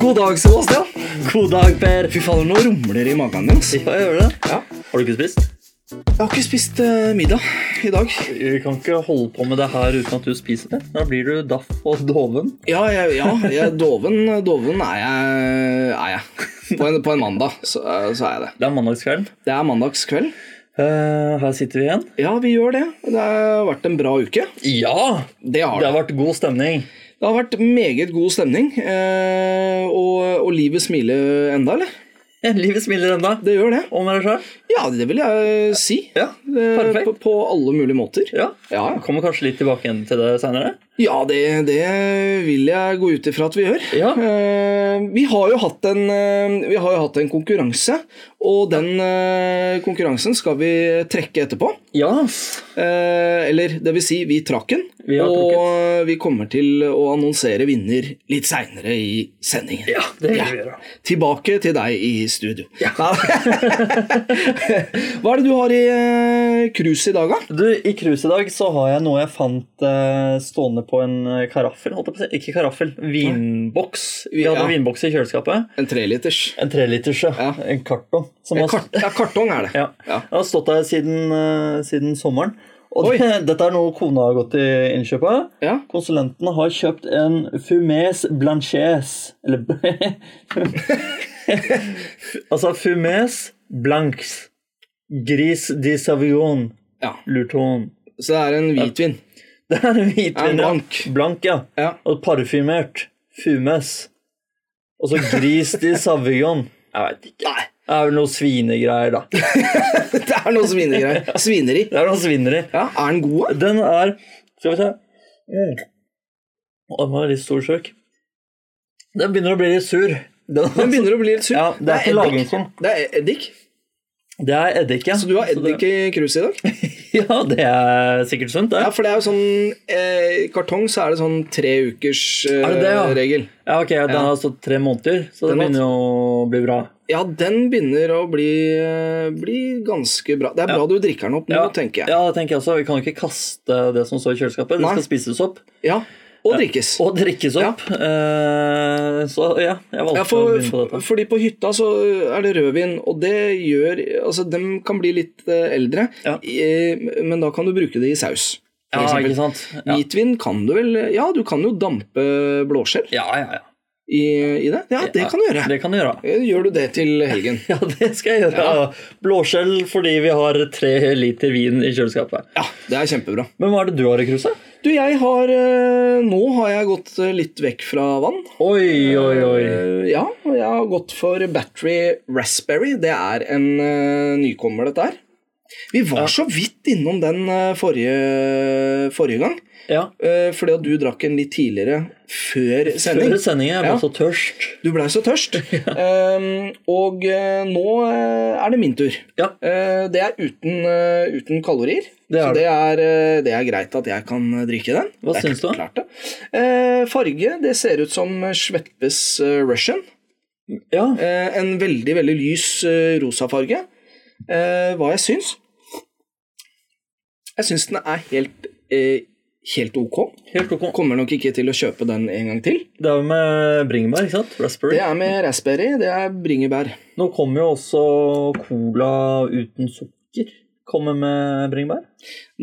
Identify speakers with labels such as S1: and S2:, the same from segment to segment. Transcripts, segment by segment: S1: God dag, Sebastian.
S2: God dag, Per.
S1: Fy fader, nå rumler det i magen min. ass.
S2: Ja, jeg gjør det.
S1: Ja.
S2: Har du ikke spist?
S1: Jeg har ikke spist eh, middag i dag.
S2: Vi kan ikke holde på med det her uten at du spiser det. Da blir du daff og doven.
S1: Ja, jeg, ja jeg, doven, doven er jeg. Er jeg. På, en, på en mandag så, eh, så er jeg det.
S2: Det er mandagskvelden.
S1: Det er mandagskveld.
S2: Eh, her sitter vi igjen.
S1: Ja, vi gjør det. Det har vært en bra uke.
S2: Ja!
S1: Det har
S2: Det
S1: det.
S2: har vært god stemning.
S1: Det har vært meget god stemning. eh, Og, og livet smiler enda, eller?
S2: Livet smiler ennå.
S1: Det gjør det.
S2: Og med deg sjøl.
S1: Ja, det vil jeg si.
S2: Ja.
S1: Eh,
S2: Perfekt.
S1: På, på alle mulige måter.
S2: ja.
S1: Ja,
S2: Jeg Kommer kanskje litt tilbake igjen til det seinere.
S1: Ja, det, det vil jeg gå ut ifra at vi gjør.
S2: Ja.
S1: Eh, vi, har jo hatt en, eh, vi har jo hatt en konkurranse, og den eh, konkurransen skal vi trekke etterpå.
S2: Ja.
S1: Eh, eller det vil si, vi trakk den,
S2: Vi har
S1: og
S2: trukket.
S1: eh, vi kommer til å annonsere vinner litt seinere i sendingen.
S2: ja. Det vil
S1: Ja.
S2: vi gjøre.
S1: Tilbake til deg i studio.
S2: Ja.
S1: Hva er det du har i eh, krus i dag, da?
S2: Du, I cruise i dag så har jeg noe jeg fant eh, stående på en eh, karaffel. Holdt jeg på å si. Ikke karaffel, vinboks. Vi hadde
S1: Ja.
S2: vinboks i kjøleskapet.
S1: En treliters.
S2: En treliters, ja.
S1: Ja.
S2: En karton. Som
S1: Eh,
S2: har,
S1: Kart ja, kartong er det.
S2: ja.
S1: Ja.
S2: Den har stått der siden, eh, siden sommeren. Og
S1: Oi.
S2: det, dette er noe kona har gått i innkjøp av.
S1: Ja.
S2: Konsulentene har kjøpt en fumés blanchés. Eller Altså fumés blancs. Gris de savion.
S1: ja.
S2: Lurton.
S1: Så det er en hvitvin.
S2: Det er en
S1: En
S2: hvitvin. ja.
S1: blank.
S2: Blank, ja.
S1: Ja.
S2: Og parfymert. Fumes. Og så gris de savion. Jeg veit ikke.
S1: Nei,
S2: Det er vel noe svinegreier, da. Det
S1: det er noe svinegreier. Svineri.
S2: er noe svineri.
S1: Ja, Er den god? da?
S2: Den er Skal vi se. Mm. Å, Den var litt stor søk. Den begynner å bli litt sur.
S1: Den begynner å bli litt sur.
S2: Ja, det er ikke
S1: eddik.
S2: lagringssum.
S1: Det er eddik.
S2: Det er eddik, ja.
S1: Så du har eddik
S2: det,
S1: i kruset i dag?
S2: ja, det er sikkert sunt, det.
S1: Ja, for det er jo sånn eh, I kartong så er det sånn tre ukers eh,
S2: Er det det, ja?
S1: regel.
S2: Ja, ok, Den har stått tre måneder, så den
S1: Den har-
S2: begynner å bli bra.
S1: Ja, den begynner å bli, eh, bli ganske bra. Det er bra du drikker den opp nå,
S2: Ja,
S1: tenker jeg.
S2: ja, det tenker jeg også. Vi kan jo ikke kaste det som står i kjøleskapet. Det
S1: Nei.
S2: skal spises opp
S1: Ja, Og drikkes.
S2: og drikkes opp. Eh, så ja, jeg valgte
S1: Ja, for,
S2: å begynne på dette.
S1: fordi på hytta så er det rødvin, og det gjør Altså, dem kan bli litt eh, eldre,
S2: Ja.
S1: eh, men da kan du bruke det i saus. for
S2: Ja,
S1: eksempel.
S2: ikke sant? Ja.
S1: Hvitvin kan du vel Ja, du kan jo dampe blåskjell
S2: ja, ja, ja.
S1: i, i det. Ja, det kan du gjøre. Eh,
S2: Det kan du gjøre.
S1: Gjør du det til helgen?
S2: Ja, det skal jeg gjøre. Blåskjell fordi vi har tre liter vin i kjøleskapet.
S1: Ja, det er kjempebra.
S2: Men hva er det du har i kruset?
S1: Du, jeg har eh, Nå har jeg gått eh, litt vekk fra vann.
S2: Oi, oi, oi.
S1: Eh, Ja, og jeg har gått for Battery Raspberry. Det er en eh, nykommer, dette her. Vi var så vidt innom den eh, forrige, forrige gang.
S2: Ja.
S1: eh, fordi at du drakk en litt tidligere før sending.
S2: Før sendingen jeg ble
S1: Ja.
S2: så tørst.
S1: Du blei så tørst. Eh, og eh, nå eh, er det min tur.
S2: Ja.
S1: Eh, det er uten, eh, uten kalorier.
S2: Det er
S1: så
S2: det.
S1: det er, eh, det er greit at jeg kan eh, drikke den.
S2: Hva
S1: Det er
S2: syns du?
S1: Klart det. Eh, farge, det ser ut som Sveppes eh, Russian.
S2: Ja.
S1: Eh, en veldig, veldig lys eh, rosa farge. Eh, hva jeg syns? Jeg syns den er helt, eh, helt ok.
S2: Helt ok.
S1: Kommer nok ikke til å kjøpe den en gang til.
S2: Det er jo med bringebær, ikke sant?
S1: Det
S2: Raspberry.
S1: er med raspberry, det er bringebær.
S2: Nå kommer jo også cola uten sukker. Kommer med bringebær.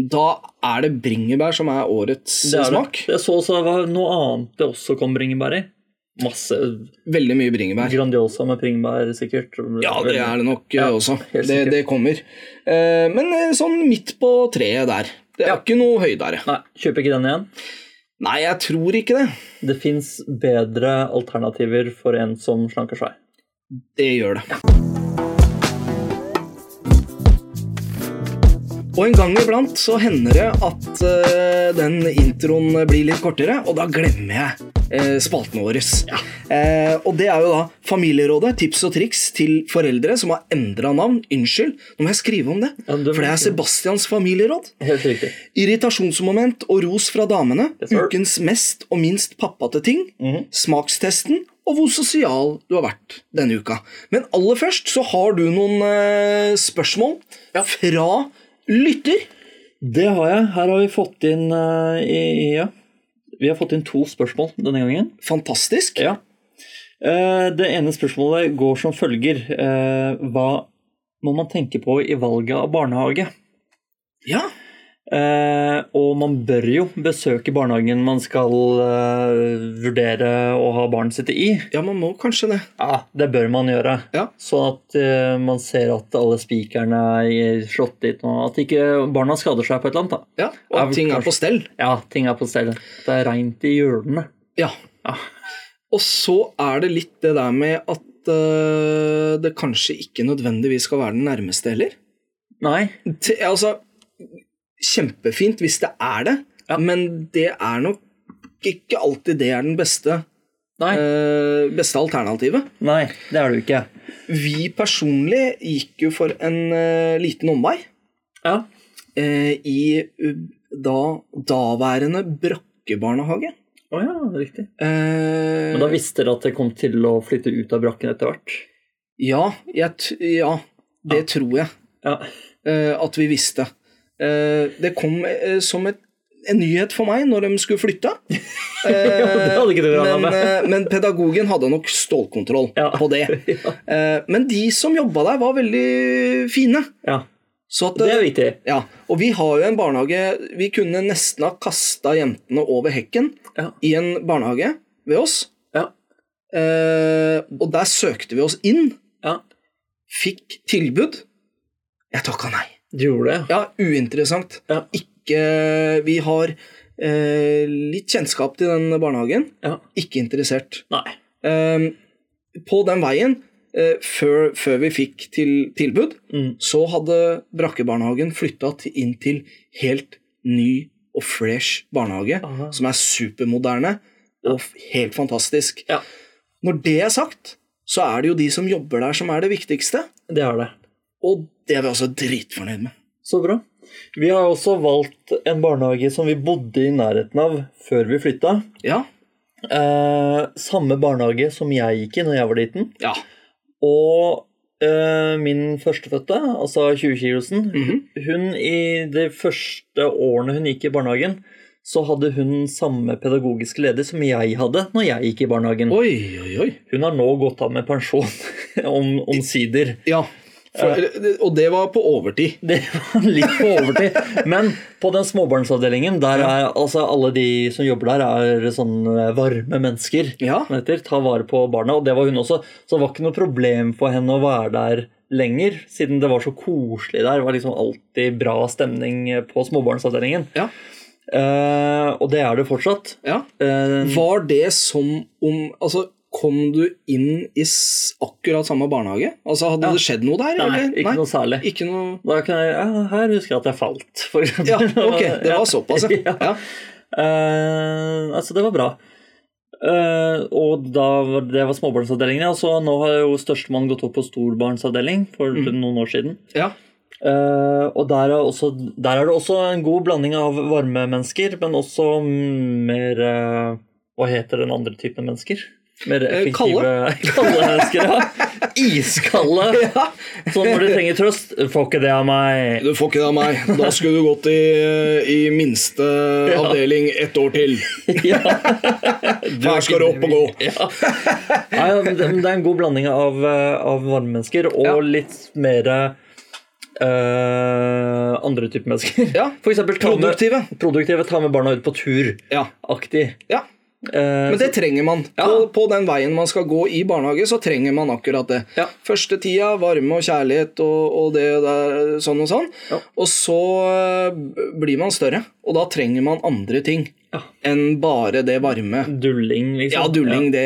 S1: Da er det bringebær som er årets
S2: Det er
S1: smak.
S2: Det. Jeg så også det var noe annet det også kom bringebær i. Masse
S1: Veldig mye bringebær.
S2: Grandiosa med bringebær, sikkert.
S1: Ja, det er det nok eh,
S2: Ja,
S1: også.
S2: helt
S1: Det,
S2: sikkert.
S1: det kommer. Eh, Men eh, sånn midt på treet der. Det er
S2: Ja.
S1: ikke noe høydere.
S2: Nei, kjøper ikke den igjen.
S1: Nei, jeg tror ikke det.
S2: Det fins bedre alternativer for en som slanker seg.
S1: Det gjør det. Og en gang iblant så hender det at eh, den introen blir litt kortere, og da glemmer jeg eh, spalten vår. Eh, og det er jo da Familierådet, tips og triks til foreldre som har endra navn. Unnskyld, nå må jeg skrive om det,
S2: Ja, det må
S1: for det
S2: du
S1: er Sebastians familieråd.
S2: Helt riktig.
S1: Irritasjonsmoment og ros fra damene.
S2: Yes, sir. Mhm.
S1: ukens mest og minst pappate ting. Smakstesten og hvor sosial du har vært denne uka. Men aller først så har du noen eh, spørsmål fra lytter.
S2: Det har jeg. Her har vi fått inn eh, i, i- ja. Vi har fått inn to spørsmål denne gangen.
S1: Fantastisk.
S2: Ja. Eh, Det ene spørsmålet går som følger. Eh, Hva må man tenke på i valget av barnehage?
S1: Ja.
S2: Eh, og man bør jo besøke barnehagen man skal eh, vurdere å ha barnet sitt i.
S1: ja, man må kanskje det.
S2: Ja, Det bør man gjøre.
S1: Ja.
S2: Sånn at eh, man ser at alle spikerne er slått dit, og at ikke barna skader seg på et eller annet. da.
S1: Ja, Og
S2: Ja,
S1: at ting er på stell.
S2: Ja, ting er på stell. Det er reint i hjørnene.
S1: Ja.
S2: Ja.
S1: Og så er det litt det der med at eh, det kanskje ikke nødvendigvis skal være den nærmeste heller.
S2: Nei.
S1: Til- altså, kjempefint hvis det er det,
S2: Ja.
S1: men det er nok ikke alltid det er den beste,
S2: Nei.
S1: eh, beste alternativet.
S2: Nei, det er det jo ikke.
S1: Vi personlig gikk jo for en eh, liten omvei
S2: Ja.
S1: eh, i eh, da daværende brakkebarnehage.
S2: Å ja, riktig.
S1: Eh,
S2: Men da visste dere at dere kom til å flytte ut av brakken etter hvert?
S1: Eh, ja, jeg, t- ja, det
S2: Ja.
S1: tror jeg
S2: Ja.
S1: eh, at vi visste. Eh, det kom eh, som et, en nyhet for meg når de skulle flytte. Eh,
S2: Ja, det hadde ikke du regnet
S1: men,
S2: med.
S1: eh, men pedagogen hadde nok stålkontroll
S2: Ja.
S1: på det.
S2: Ja.
S1: Eh, men de som jobba der, var veldig fine.
S2: ja.
S1: Så at, eh,
S2: Det er viktig.
S1: ja, og vi har jo en barnehage Vi kunne nesten ha kasta jentene over hekken
S2: Ja.
S1: i en barnehage ved oss.
S2: Ja.
S1: Eh, og der søkte vi oss inn.
S2: Ja.
S1: Fikk tilbud. Jeg takka nei.
S2: Du gjorde det?
S1: Ja, uinteressant.
S2: Ja.
S1: Ikke Vi har eh, litt kjennskap til den barnehagen.
S2: Ja.
S1: Ikke interessert.
S2: Nei.
S1: Ehm, på den veien, eh, før, før vi fikk til tilbud,
S2: Mm.
S1: så hadde Brakkebarnehagen flytta inn til helt ny og fresh barnehage,
S2: Aha.
S1: som er supermoderne og f- helt fantastisk.
S2: Ja.
S1: Når det er sagt, så er det jo de som jobber der, som er det viktigste,
S2: Det er det.
S1: og det er vi også dritfornøyd med.
S2: Så bra. Vi har også valgt en barnehage som vi bodde i nærheten av før vi flytta.
S1: Ja.
S2: Eh, samme barnehage som jeg gikk i når jeg var liten.
S1: Ja.
S2: Og eh, min førstefødte, altså 20-kilosen,
S1: Mhm.
S2: hun i de første årene hun gikk i barnehagen, så hadde hun samme pedagogiske leder som jeg hadde når jeg gikk i barnehagen.
S1: Oi, oi, oi.
S2: Hun har nå gått av med pensjon, om- omsider.
S1: Ja. For, og det var på overtid.
S2: Det var litt på overtid. Men på den småbarnsavdelingen, der er altså alle de som jobber der, er sånne varme mennesker.
S1: Ja.
S2: som det heter, Ta vare på barna, og det var hun også. Så det var ikke noe problem for henne å være der lenger, siden det var så koselig der. Det var liksom alltid bra stemning eh, på småbarnsavdelingen.
S1: Ja.
S2: Eh, og det er det fortsatt.
S1: ja.
S2: Eh,
S1: Var det som om Altså, kom du inn i s- akkurat samme barnehage? Altså, Hadde
S2: Ja.
S1: det skjedd noe der?
S2: nei,
S1: eller?
S2: ikke noe særlig.
S1: Ikke noe
S2: Da kan jeg, ja, her husker jeg at jeg falt, for eksempel.
S1: Ja, ok. Det var såpass, ja.
S2: Ja.
S1: ja.
S2: Eh, altså, det var bra. Eh, og da var, det var småbarnsavdelingen, ja. Så nå har jo størstemann gått opp på storbarnsavdeling for
S1: Mm.
S2: noen år siden.
S1: ja.
S2: Eh, og der er, også, der er det også en god blanding av varme mennesker, men også mm, mer eh, Hva heter den andre typen mennesker? Mer
S1: Eh,
S2: effektive Kalde mennesker, ja. Iskalde. Så når de trenger trøst, får ikke det av meg.
S1: Du får ikke det av meg. Da skulle du gått i, i minste
S2: Ja.
S1: avdeling ett år til.
S2: Ja.
S1: Her skal du opp og gå.
S2: Ja. Nei, ja, men det, men det er en god blanding av, eh, av varme mennesker og
S1: Ja.
S2: litt mer eh, andre typer mennesker.
S1: Ja.
S2: For eksempel ta med,
S1: Produktive.
S2: produktive, ta med barna ut på tur-aktig.
S1: Ja. ja.
S2: Eh,
S1: Men det trenger man. På, på den veien man skal gå i barnehage, så trenger man akkurat det.
S2: Ja.
S1: Første tida, varme og kjærlighet og, og det der, sånn og sånn.
S2: Ja.
S1: Og så eh, blir man større, og da trenger man andre ting
S2: Ja.
S1: enn bare det varme.
S2: så dulling, liksom.
S1: Ja, dulling, Det,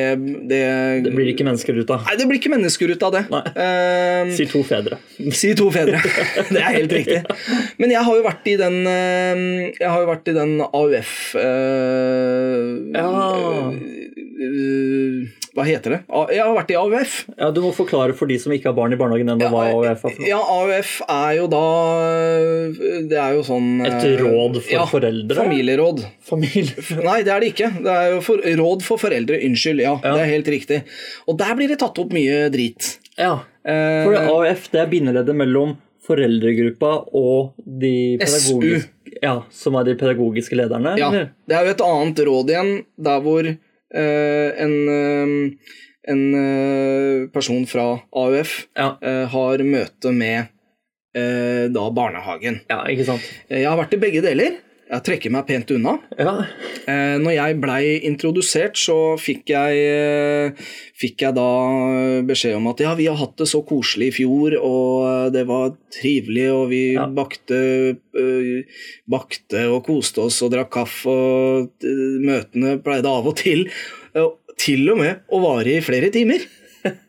S1: det
S2: Det blir ikke mennesker ut av.
S1: Nei, det blir ikke mennesker ut av det.
S2: Nei.
S1: Eh,
S2: Si to fedre.
S1: Si to fedre. Det er helt riktig. Men jeg har jo vært i den eh, Jeg har jo vært i den AUF eh,
S2: Ja.
S1: eh, Hva heter det? A- Jeg har vært i AUF.
S2: Ja, Du må forklare for de som ikke har barn i barnehagen ennå, hva AUF er for noe.
S1: Ja, AUF er jo da eh, Det er jo sånn eh,
S2: Et råd for
S1: ja,
S2: foreldre?
S1: Familieråd.
S2: Familie.
S1: Nei, det er det ikke. Det er jo for, Råd for foreldre. Unnskyld, ja, Det er helt riktig. Og der blir det tatt opp mye drit.
S2: Ja.
S1: Eh,
S2: For AUF det er bindeleddet mellom foreldregruppa og de
S1: SU.
S2: pedagogiske Ja, som er de pedagogiske lederne?
S1: Ja,
S2: eller?
S1: det er jo et annet råd igjen, der hvor eh, en, eh, en eh, person fra AUF
S2: Ja.
S1: eh, har møte med eh, da barnehagen.
S2: ja, ikke sant?
S1: Eh, Jeg har vært i begge deler. Jeg trekker meg pent unna.
S2: Ja,
S1: Eh, når jeg blei introdusert, så fikk jeg, eh, fikk jeg da eh, beskjed om at ja, vi har hatt det så koselig i fjor, og eh, det var trivelig, og vi
S2: Ja.
S1: bakte, eh, bakte og koste oss og drakk kaffe, og eh, møtene pleide av og til eh, til og med å vare i flere timer.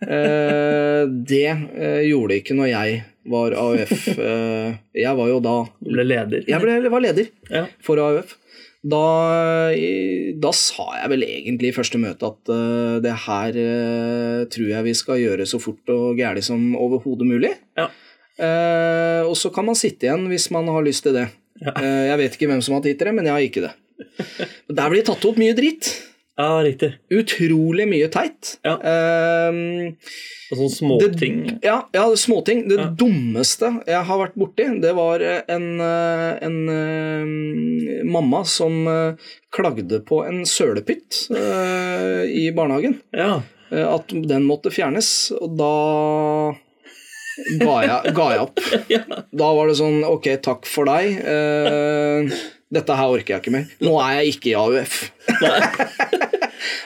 S1: Eh, det eh, gjorde det ikke når jeg var AUF. Eh, jeg var jo da
S2: du ble leder.
S1: Jeg ble, var leder
S2: Ja.
S1: for AUF. Da, da sa jeg vel egentlig i første møte at eh, det her eh, tror jeg vi skal gjøre så fort og gærent som overhodet mulig.
S2: Ja.
S1: Eh, og så kan man sitte igjen hvis man har lyst til det.
S2: Ja.
S1: Eh, jeg vet ikke hvem som har tatt det, men jeg har ikke det. Men Der blir det tatt opp mye dritt.
S2: ja, riktig.
S1: Utrolig mye teit.
S2: Ja.
S1: Eh,
S2: Og sånne småting.
S1: ja, ja småting. Det
S2: Ja.
S1: dummeste jeg har vært borti, det var eh, en, eh, en eh, mamma som eh, klagde på en sølepytt eh, i barnehagen.
S2: Ja.
S1: Eh, At den måtte fjernes, og da ga jeg, ga jeg opp.
S2: Ja.
S1: Da var det sånn Ok, takk for deg. eh, dette her orker jeg ikke mer. Nå er jeg ikke i AUF.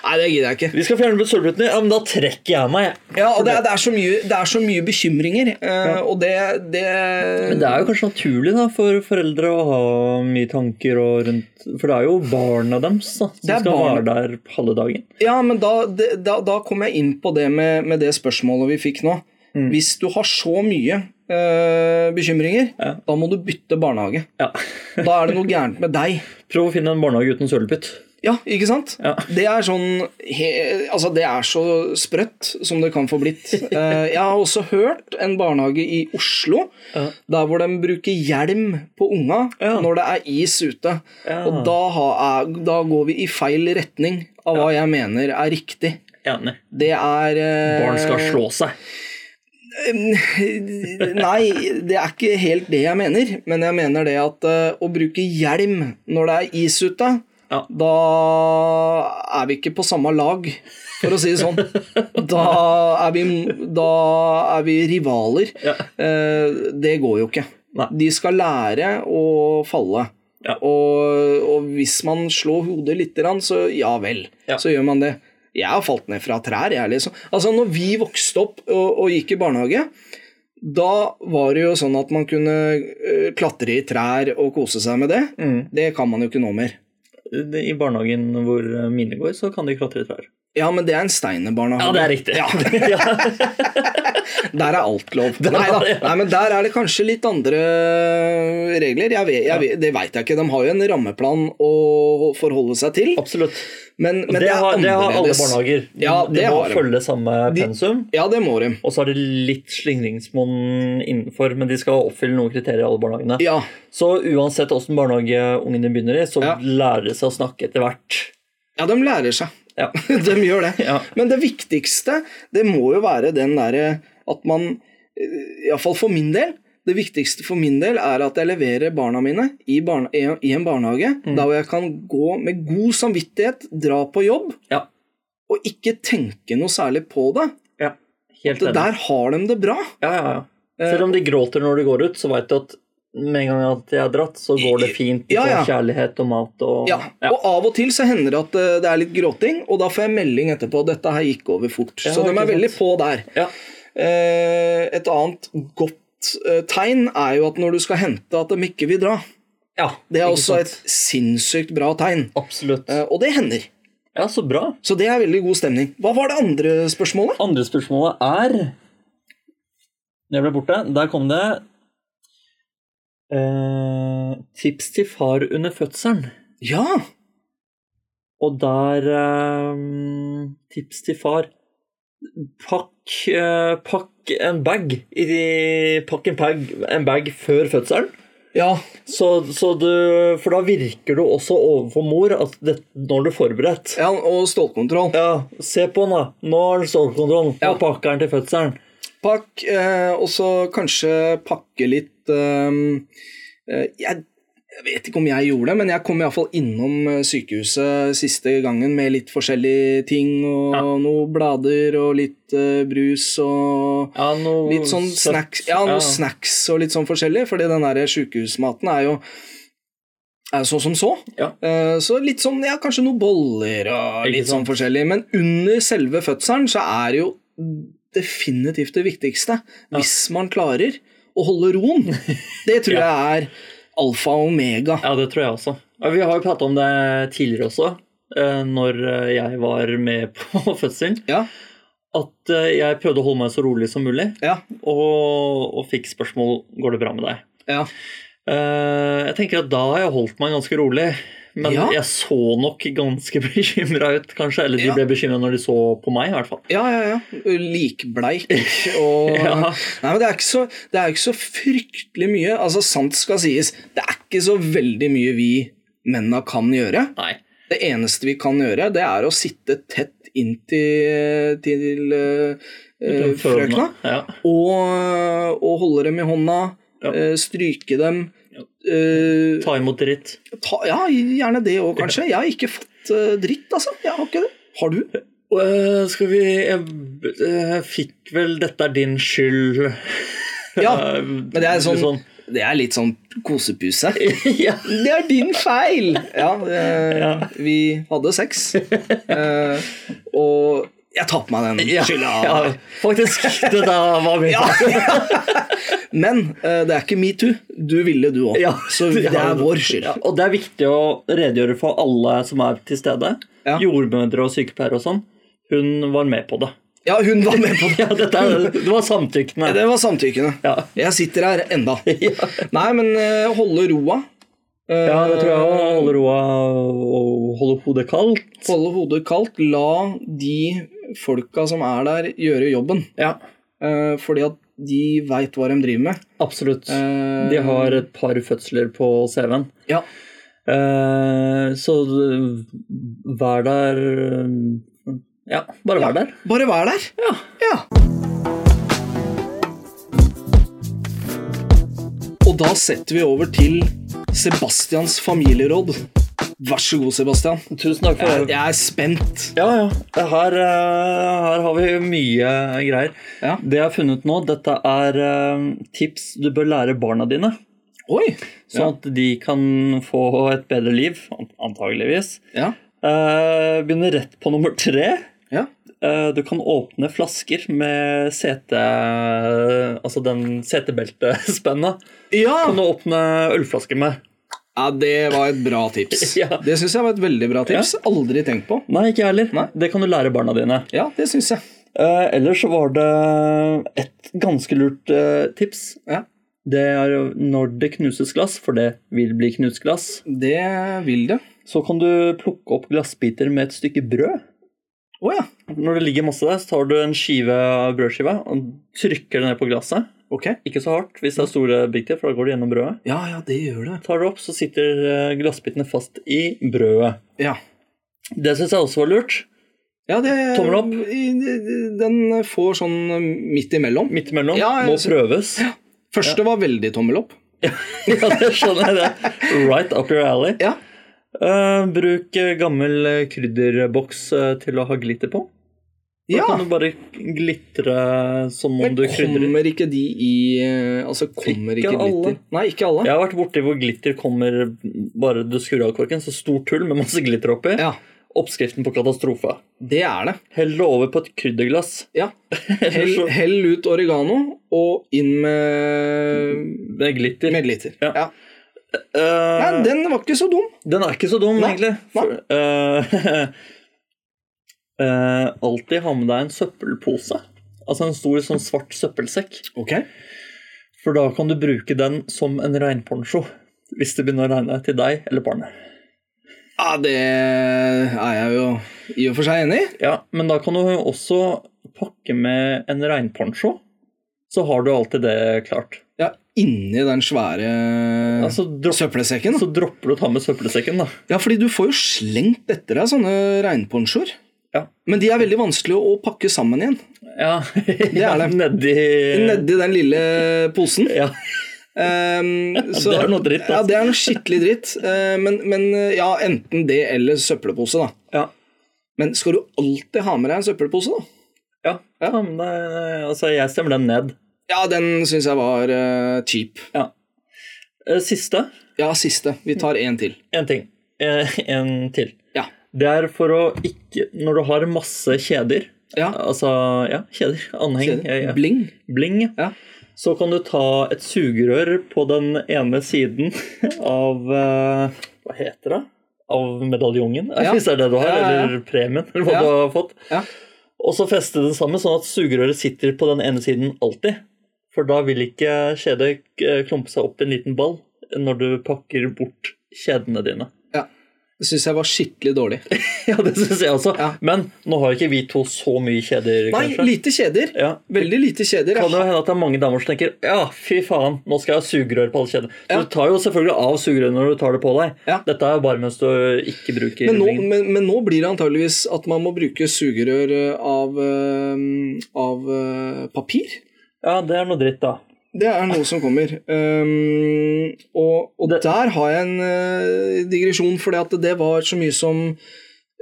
S1: Nei, det gidder jeg ikke.
S2: Vi skal fjerne sølvbruttene. Ja, men da trekker jeg meg. jeg.
S1: Ja, og det er, det er, så, mye, det er så mye bekymringer, eh, og det, det
S2: Men det er jo kanskje naturlig da, for foreldre å ha mye tanker og rundt For det er jo barna deres da, som
S1: Det er
S2: skal
S1: barna.
S2: være der halve dagen.
S1: Ja, men da, det- da, da kom jeg inn på det med, med det spørsmålet vi fikk nå.
S2: Mm.
S1: Hvis du har så mye eh, bekymringer,
S2: Ja.
S1: da må du bytte barnehage.
S2: Ja.
S1: Da er det noe gærent med deg.
S2: Prøv å finne en barnehage uten sølepytt.
S1: Ja, ikke sant?
S2: Ja.
S1: Det er sånn he, Altså, det er så sprøtt som det kan få blitt. Eh, jeg har også hørt en barnehage i Oslo
S2: Ja.
S1: der hvor de bruker hjelm på unga
S2: Ja.
S1: når det er is ute.
S2: Ja.
S1: Og da, har, jeg- da går vi i feil retning av hva jeg mener er riktig.
S2: Enig.
S1: Det er eh,
S2: Barn skal slå seg.
S1: Nei, det er ikke helt det jeg mener. Men jeg mener det at eh, å bruke hjelm når det er is ute,
S2: Ja.
S1: da er vi ikke på samme lag, for å si det sånn. Da er vi, da er vi rivaler.
S2: Ja.
S1: Eh, Det går jo ikke.
S2: Nei.
S1: De skal lære å falle.
S2: Ja.
S1: Og, og hvis man slår hodet litt, så ja vel,
S2: Ja.
S1: så gjør man det. Jeg har falt ned fra trær, jeg, liksom. Altså, når vi vokste opp og, og gikk i barnehage, da var det jo sånn at man kunne eh, klatre i trær og kose seg med det.
S2: Mm.
S1: Det kan man jo ikke nå mer.
S2: Det- I barnehagen hvor mine går, så kan de klatre i trær.
S1: Ja, men det er en steinerbarnehage.
S2: Ja, det er riktig. Ja.
S1: Der er alt lov.
S2: Der-
S1: Nei, da.
S2: ja.
S1: Nei, men der er det kanskje litt andre eh, regler. Jeg vet, jeg vet, det veit jeg ikke. De har jo en rammeplan å forholde seg til.
S2: Absolutt.
S1: Men, men
S2: det, har, det har alle barnehager. De,
S1: Ja,
S2: de
S1: det
S2: må
S1: har de.
S2: følge samme
S1: De-
S2: pensum.
S1: Ja, det må de.
S2: Og så er det litt slingringsmonn innenfor, men de skal oppfylle noen kriterier i alle barnehagene.
S1: Ja,
S2: Så uansett åssen barnehage ungene begynner i, så
S1: Ja.
S2: lærer de seg å snakke etter hvert.
S1: ja de lærer seg.
S2: Ja.
S1: de gjør det.
S2: Ja.
S1: Men det viktigste, det må jo være den derre at man eh, Iallfall for min del. Det viktigste for min del er at jeg leverer barna mine i, barne, i en barnehage
S2: Mm.
S1: der hvor jeg kan gå med god samvittighet, dra på jobb
S2: ja.
S1: og ikke tenke noe særlig på det.
S2: ja. Helt
S1: Det
S2: enig.
S1: der har de det bra.
S2: Ja, ja, ja. Selv
S1: Eh.
S2: om de gråter når de går ut, så veit du at med en gang at de er dratt, så går det fint. De
S1: Ja, ja.
S2: får kjærlighet og mat og
S1: Ja, Og av og til så hender det at eh, det er litt gråting, og da får jeg melding etterpå at dette her gikk over fort.
S2: Ja,
S1: så de
S2: ikke
S1: er
S2: sant.
S1: veldig på der.
S2: Ja.
S1: Eh, Et annet godt eh, tegn er jo at når du skal hente at de ikke vil dra.
S2: Ja,
S1: Det er
S2: ikke
S1: også
S2: sant?
S1: et sinnssykt bra tegn.
S2: Absolutt.
S1: Eh, Og det hender.
S2: Ja, så bra.
S1: Så det er veldig god stemning. Hva var det andre spørsmålet?
S2: Andre spørsmålet er Det ble borte. Der kom det eh, tips til far under fødselen.
S1: Ja,
S2: Og der eh, Tips til far Pakk, eh, pakk en bag i Pakk en bag, en bag før fødselen.
S1: ja,
S2: Så, så du, for da virker du også overfor mor at det, når du er forberedt.
S1: ja og stålkontroll.
S2: Ja, se på den, da. Nå har den stålkontroll. Nå
S1: Ja.
S2: pakker den til fødselen.
S1: Pakk, ehm, eh, og så kanskje pakke litt eh, eh, jeg, Jeg vet ikke om jeg gjorde det, men jeg kom iallfall innom eh, sykehuset siste gangen med litt forskjellige ting og
S2: Ja.
S1: noen blader og litt eh, brus og
S2: Ja, noe
S1: Litt sånn
S2: søtt.
S1: snacks, ja, noe snacks og litt sånn forskjellig, fordi den der sjukehusmaten er jo er jo så som så.
S2: Ja.
S1: Eh, Så litt sånn, ja, kanskje noen boller og
S2: Ikke
S1: litt sånn forskjellig. Men under selve fødselen så er det jo definitivt det viktigste.
S2: Ja.
S1: Hvis man klarer å holde roen. Det tror jeg er alfa og omega.
S2: Ja, det tror jeg også. Ja, Vi har jo pratet om det tidligere også, eh, når eh, jeg var med på fødselen.
S1: Ja,
S2: At eh, jeg prøvde å holde meg så rolig som mulig,
S1: ja,
S2: og, og fikk spørsmål går det bra med deg.
S1: ja.
S2: Eh, Jeg tenker at da har jeg holdt meg ganske rolig. Men
S1: Ja.
S2: jeg så nok ganske bekymra ut, kanskje. Eller de
S1: Ja.
S2: ble bekymra når de så på meg, i hvert fall.
S1: Ja, ja, ja. Likbleik og
S2: Ja.
S1: Nei, men det er, ikke så, det er ikke så fryktelig mye. Altså, sant skal sies, det er ikke så veldig mye vi menna kan gjøre.
S2: Nei.
S1: Det eneste vi kan gjøre, det er å sitte tett inntil til, eh, eh, frøkna
S2: Ja.
S1: og, og holde dem i hånda,
S2: Ja.
S1: eh, stryke dem.
S2: Ja.
S1: eh,
S2: Ta imot dritt.
S1: ta, ja, gjerne det òg, kanskje. Jeg har ikke fått eh, dritt, altså. Jeg har ikke det. Har du?
S2: Eh, skal vi jeg, eh, fikk vel 'dette er din skyld'
S1: Ja,
S2: men
S1: Men det er, sånn, det er litt sånn kosepuse.
S2: ja.
S1: Det er din feil! Ja, eh,
S2: Ja.
S1: vi hadde sex. Eh, og jeg tar på meg den
S2: Ja,
S1: skylda.
S2: ja, faktisk. Det der var min feil.
S1: Men eh, det er ikke metoo. Du ville, du òg.
S2: Ja,
S1: Så det
S2: ja.
S1: er vår skyld.
S2: Ja, og det er viktig å redegjøre for alle som er til stede.
S1: Ja.
S2: Jordmødre og sykepleiere og sånn. Hun var med på det.
S1: Ja, hun var med på det.
S2: Ja, dette er, det var samtykkende.
S1: Det var samtykkende.
S2: Ja.
S1: Jeg sitter her enda.
S2: Ja.
S1: Nei, men eh, holde roa. Eh,
S2: ja, det tror jeg òg. Holde roa og holde hodet kaldt.
S1: Eh, Holde hodet kaldt. La de folka som er der, gjøre jobben.
S2: Ja,
S1: Eh, fordi at de veit hva de driver med.
S2: absolutt.
S1: Eh,
S2: De har et par fødsler på CV-en.
S1: Ja.
S2: Eh, så vær der eh, Ja, bare vær der.
S1: Bare vær der.
S2: Ja.
S1: Ja. Og da setter vi over til Sebastians familieråd. Vær så god, Sebastian.
S2: Tusen takk
S1: Jeg,
S2: for det.
S1: jeg er spent.
S2: Ja, ja. Her, eh, her har vi mye greier.
S1: Ja.
S2: Det jeg har funnet nå, dette er eh, tips du bør lære barna dine.
S1: Oi!
S2: Sånn at de kan få et bedre liv, an- antageligvis.
S1: Ja.
S2: Eh, Begynner rett på nummer tre.
S1: Ja.
S2: Eh, Du kan åpne flasker med sete... Altså den setebeltespenna.
S1: Ja.
S2: Kan du åpne ølflasker med?
S1: ja! Det var et bra tips.
S2: Ja.
S1: Det syns jeg var et veldig bra tips. Aldri tenkt på.
S2: Nei, ikke jeg heller.
S1: Nei.
S2: Det kan du lære barna dine.
S1: Ja, det syns jeg.
S2: Eh, Ellers så var det et ganske lurt eh, tips.
S1: Ja.
S2: Det er jo når det knuses glass, for det vil bli knust glass.
S1: Det vil det.
S2: Så kan du plukke opp glassbiter med et stykke brød.
S1: Å ja.
S2: Når det ligger masse der, så tar du en skive brødskive og trykker det ned på glasset.
S1: Ok.
S2: Ikke så hardt hvis det er store biter, for da går det gjennom brødet.
S1: Ja, ja, det gjør det.
S2: Tar det opp, så sitter eh, glassbitene fast i brødet.
S1: Ja.
S2: Det syns jeg også var lurt.
S1: ja det,
S2: Tommel opp.
S1: i- Den får sånn midt imellom.
S2: Midt imellom.
S1: Ja, jeg
S2: må
S1: synes-
S2: prøves.
S1: Første var veldig tommel opp.
S2: Ja, det skjønner jeg. det. Right up your alley.
S1: Ja.
S2: Eh, bruk eh, gammel eh, krydderboks eh, til å ha glitter på. Da
S1: Ja,
S2: kan du bare glitre som om
S1: men
S2: du krydrer.
S1: kommer ikke de i eh, Altså, kommer ikke,
S2: Ikke alle.
S1: glitter? Nei, ikke alle.
S2: Jeg har vært borti hvor glitter kommer bare du skrur av korken. Så stort hull med masse glitter oppi.
S1: Ja,
S2: Oppskriften på katastrofe.
S1: det er det.
S2: Hell det over på et krydderglass.
S1: Ja.
S2: Eller
S1: Hell,
S2: så
S1: hell ut oregano og inn med,
S2: med glitter.
S1: med glitter.
S2: Ja.
S1: Ja. Nei,
S2: Eh, den,
S1: den var ikke så dum.
S2: er ikke så dum,
S1: Nei,
S2: egentlig. For, eh, eh, alltid ha med deg en søppelpose. Altså en stor sånn svart søppelsekk.
S1: Ok.
S2: For da kan du bruke den som en regnponcho. Hvis det begynner å regne til deg eller barnet.
S1: Ja, det er jeg jo i og for seg enig i.
S2: Ja, men da kan du også pakke med en regnponcho. Så har du alltid det klart.
S1: Ja, inni den svære
S2: Altså, dropp,
S1: søppelsekken.
S2: så dropper du å ta med søppelsekken, da.
S1: Ja, fordi du får jo slengt etter deg sånne regnponchoer.
S2: Ja.
S1: Men de er veldig vanskelig å pakke sammen igjen.
S2: Ja,
S1: er det.
S2: Nedi
S1: Nedi den lille posen.
S2: ja.
S1: Ehm, så,
S2: Det er noe dritt, altså. ass.
S1: Ja, det er noe skikkelig dritt. Eh, men, men eh, ja, enten det eller søppelpose, da.
S2: Ja.
S1: Men skal du alltid ha med deg en søppelpose, da?
S2: Ja,
S1: Ja.
S2: ja men det, altså, jeg stemmer den ned.
S1: Ja, den syns jeg var eh, cheap.
S2: Ja. Eh, Siste,
S1: Ja, siste. Vi tar én til.
S2: en ting. Eh, En til.
S1: Ja.
S2: Det er for å ikke Når du har masse kjeder,
S1: ja.
S2: altså ja, kjeder, anheng,
S1: Kjeder.
S2: ja, ja.
S1: Bling.
S2: bling,
S1: Ja.
S2: så kan du ta et sugerør på den ene siden av eh, Hva heter det? Av medaljongen,
S1: Ja.
S2: hvis det er det du har,
S1: Ja, ja, ja.
S2: eller premien, eller hva
S1: Ja.
S2: du har fått.
S1: Ja.
S2: Og så feste den sammen, sånn at sugerøret sitter på den ene siden alltid. For da vil ikke kjedet eh, klumpe seg opp i en liten ball når du pakker bort kjedene dine.
S1: Ja. Det syns jeg var skikkelig dårlig.
S2: Ja, det syns jeg også.
S1: Ja.
S2: Men nå har ikke vi to så mye kjeder,
S1: Nei,
S2: kanskje.
S1: lite kjeder.
S2: Ja.
S1: Veldig lite kjeder.
S2: Kan det hende at det er mange damer som tenker Ja, fy faen, nå skal jeg ha sugerør på alle kjedene.
S1: Ja.
S2: Du tar jo selvfølgelig av sugerøret når du tar det på deg.
S1: Ja.
S2: Dette er jo bare mens du ikke bruker
S1: Men nå,
S2: ringen.
S1: men, men nå blir det antageligvis at man må bruke sugerør eh, av, eh, av eh, papir.
S2: Ja, det er noe dritt, da.
S1: Det er noe som kommer. Um, og og
S2: Det-
S1: der har jeg en eh, digresjon, for det var så mye som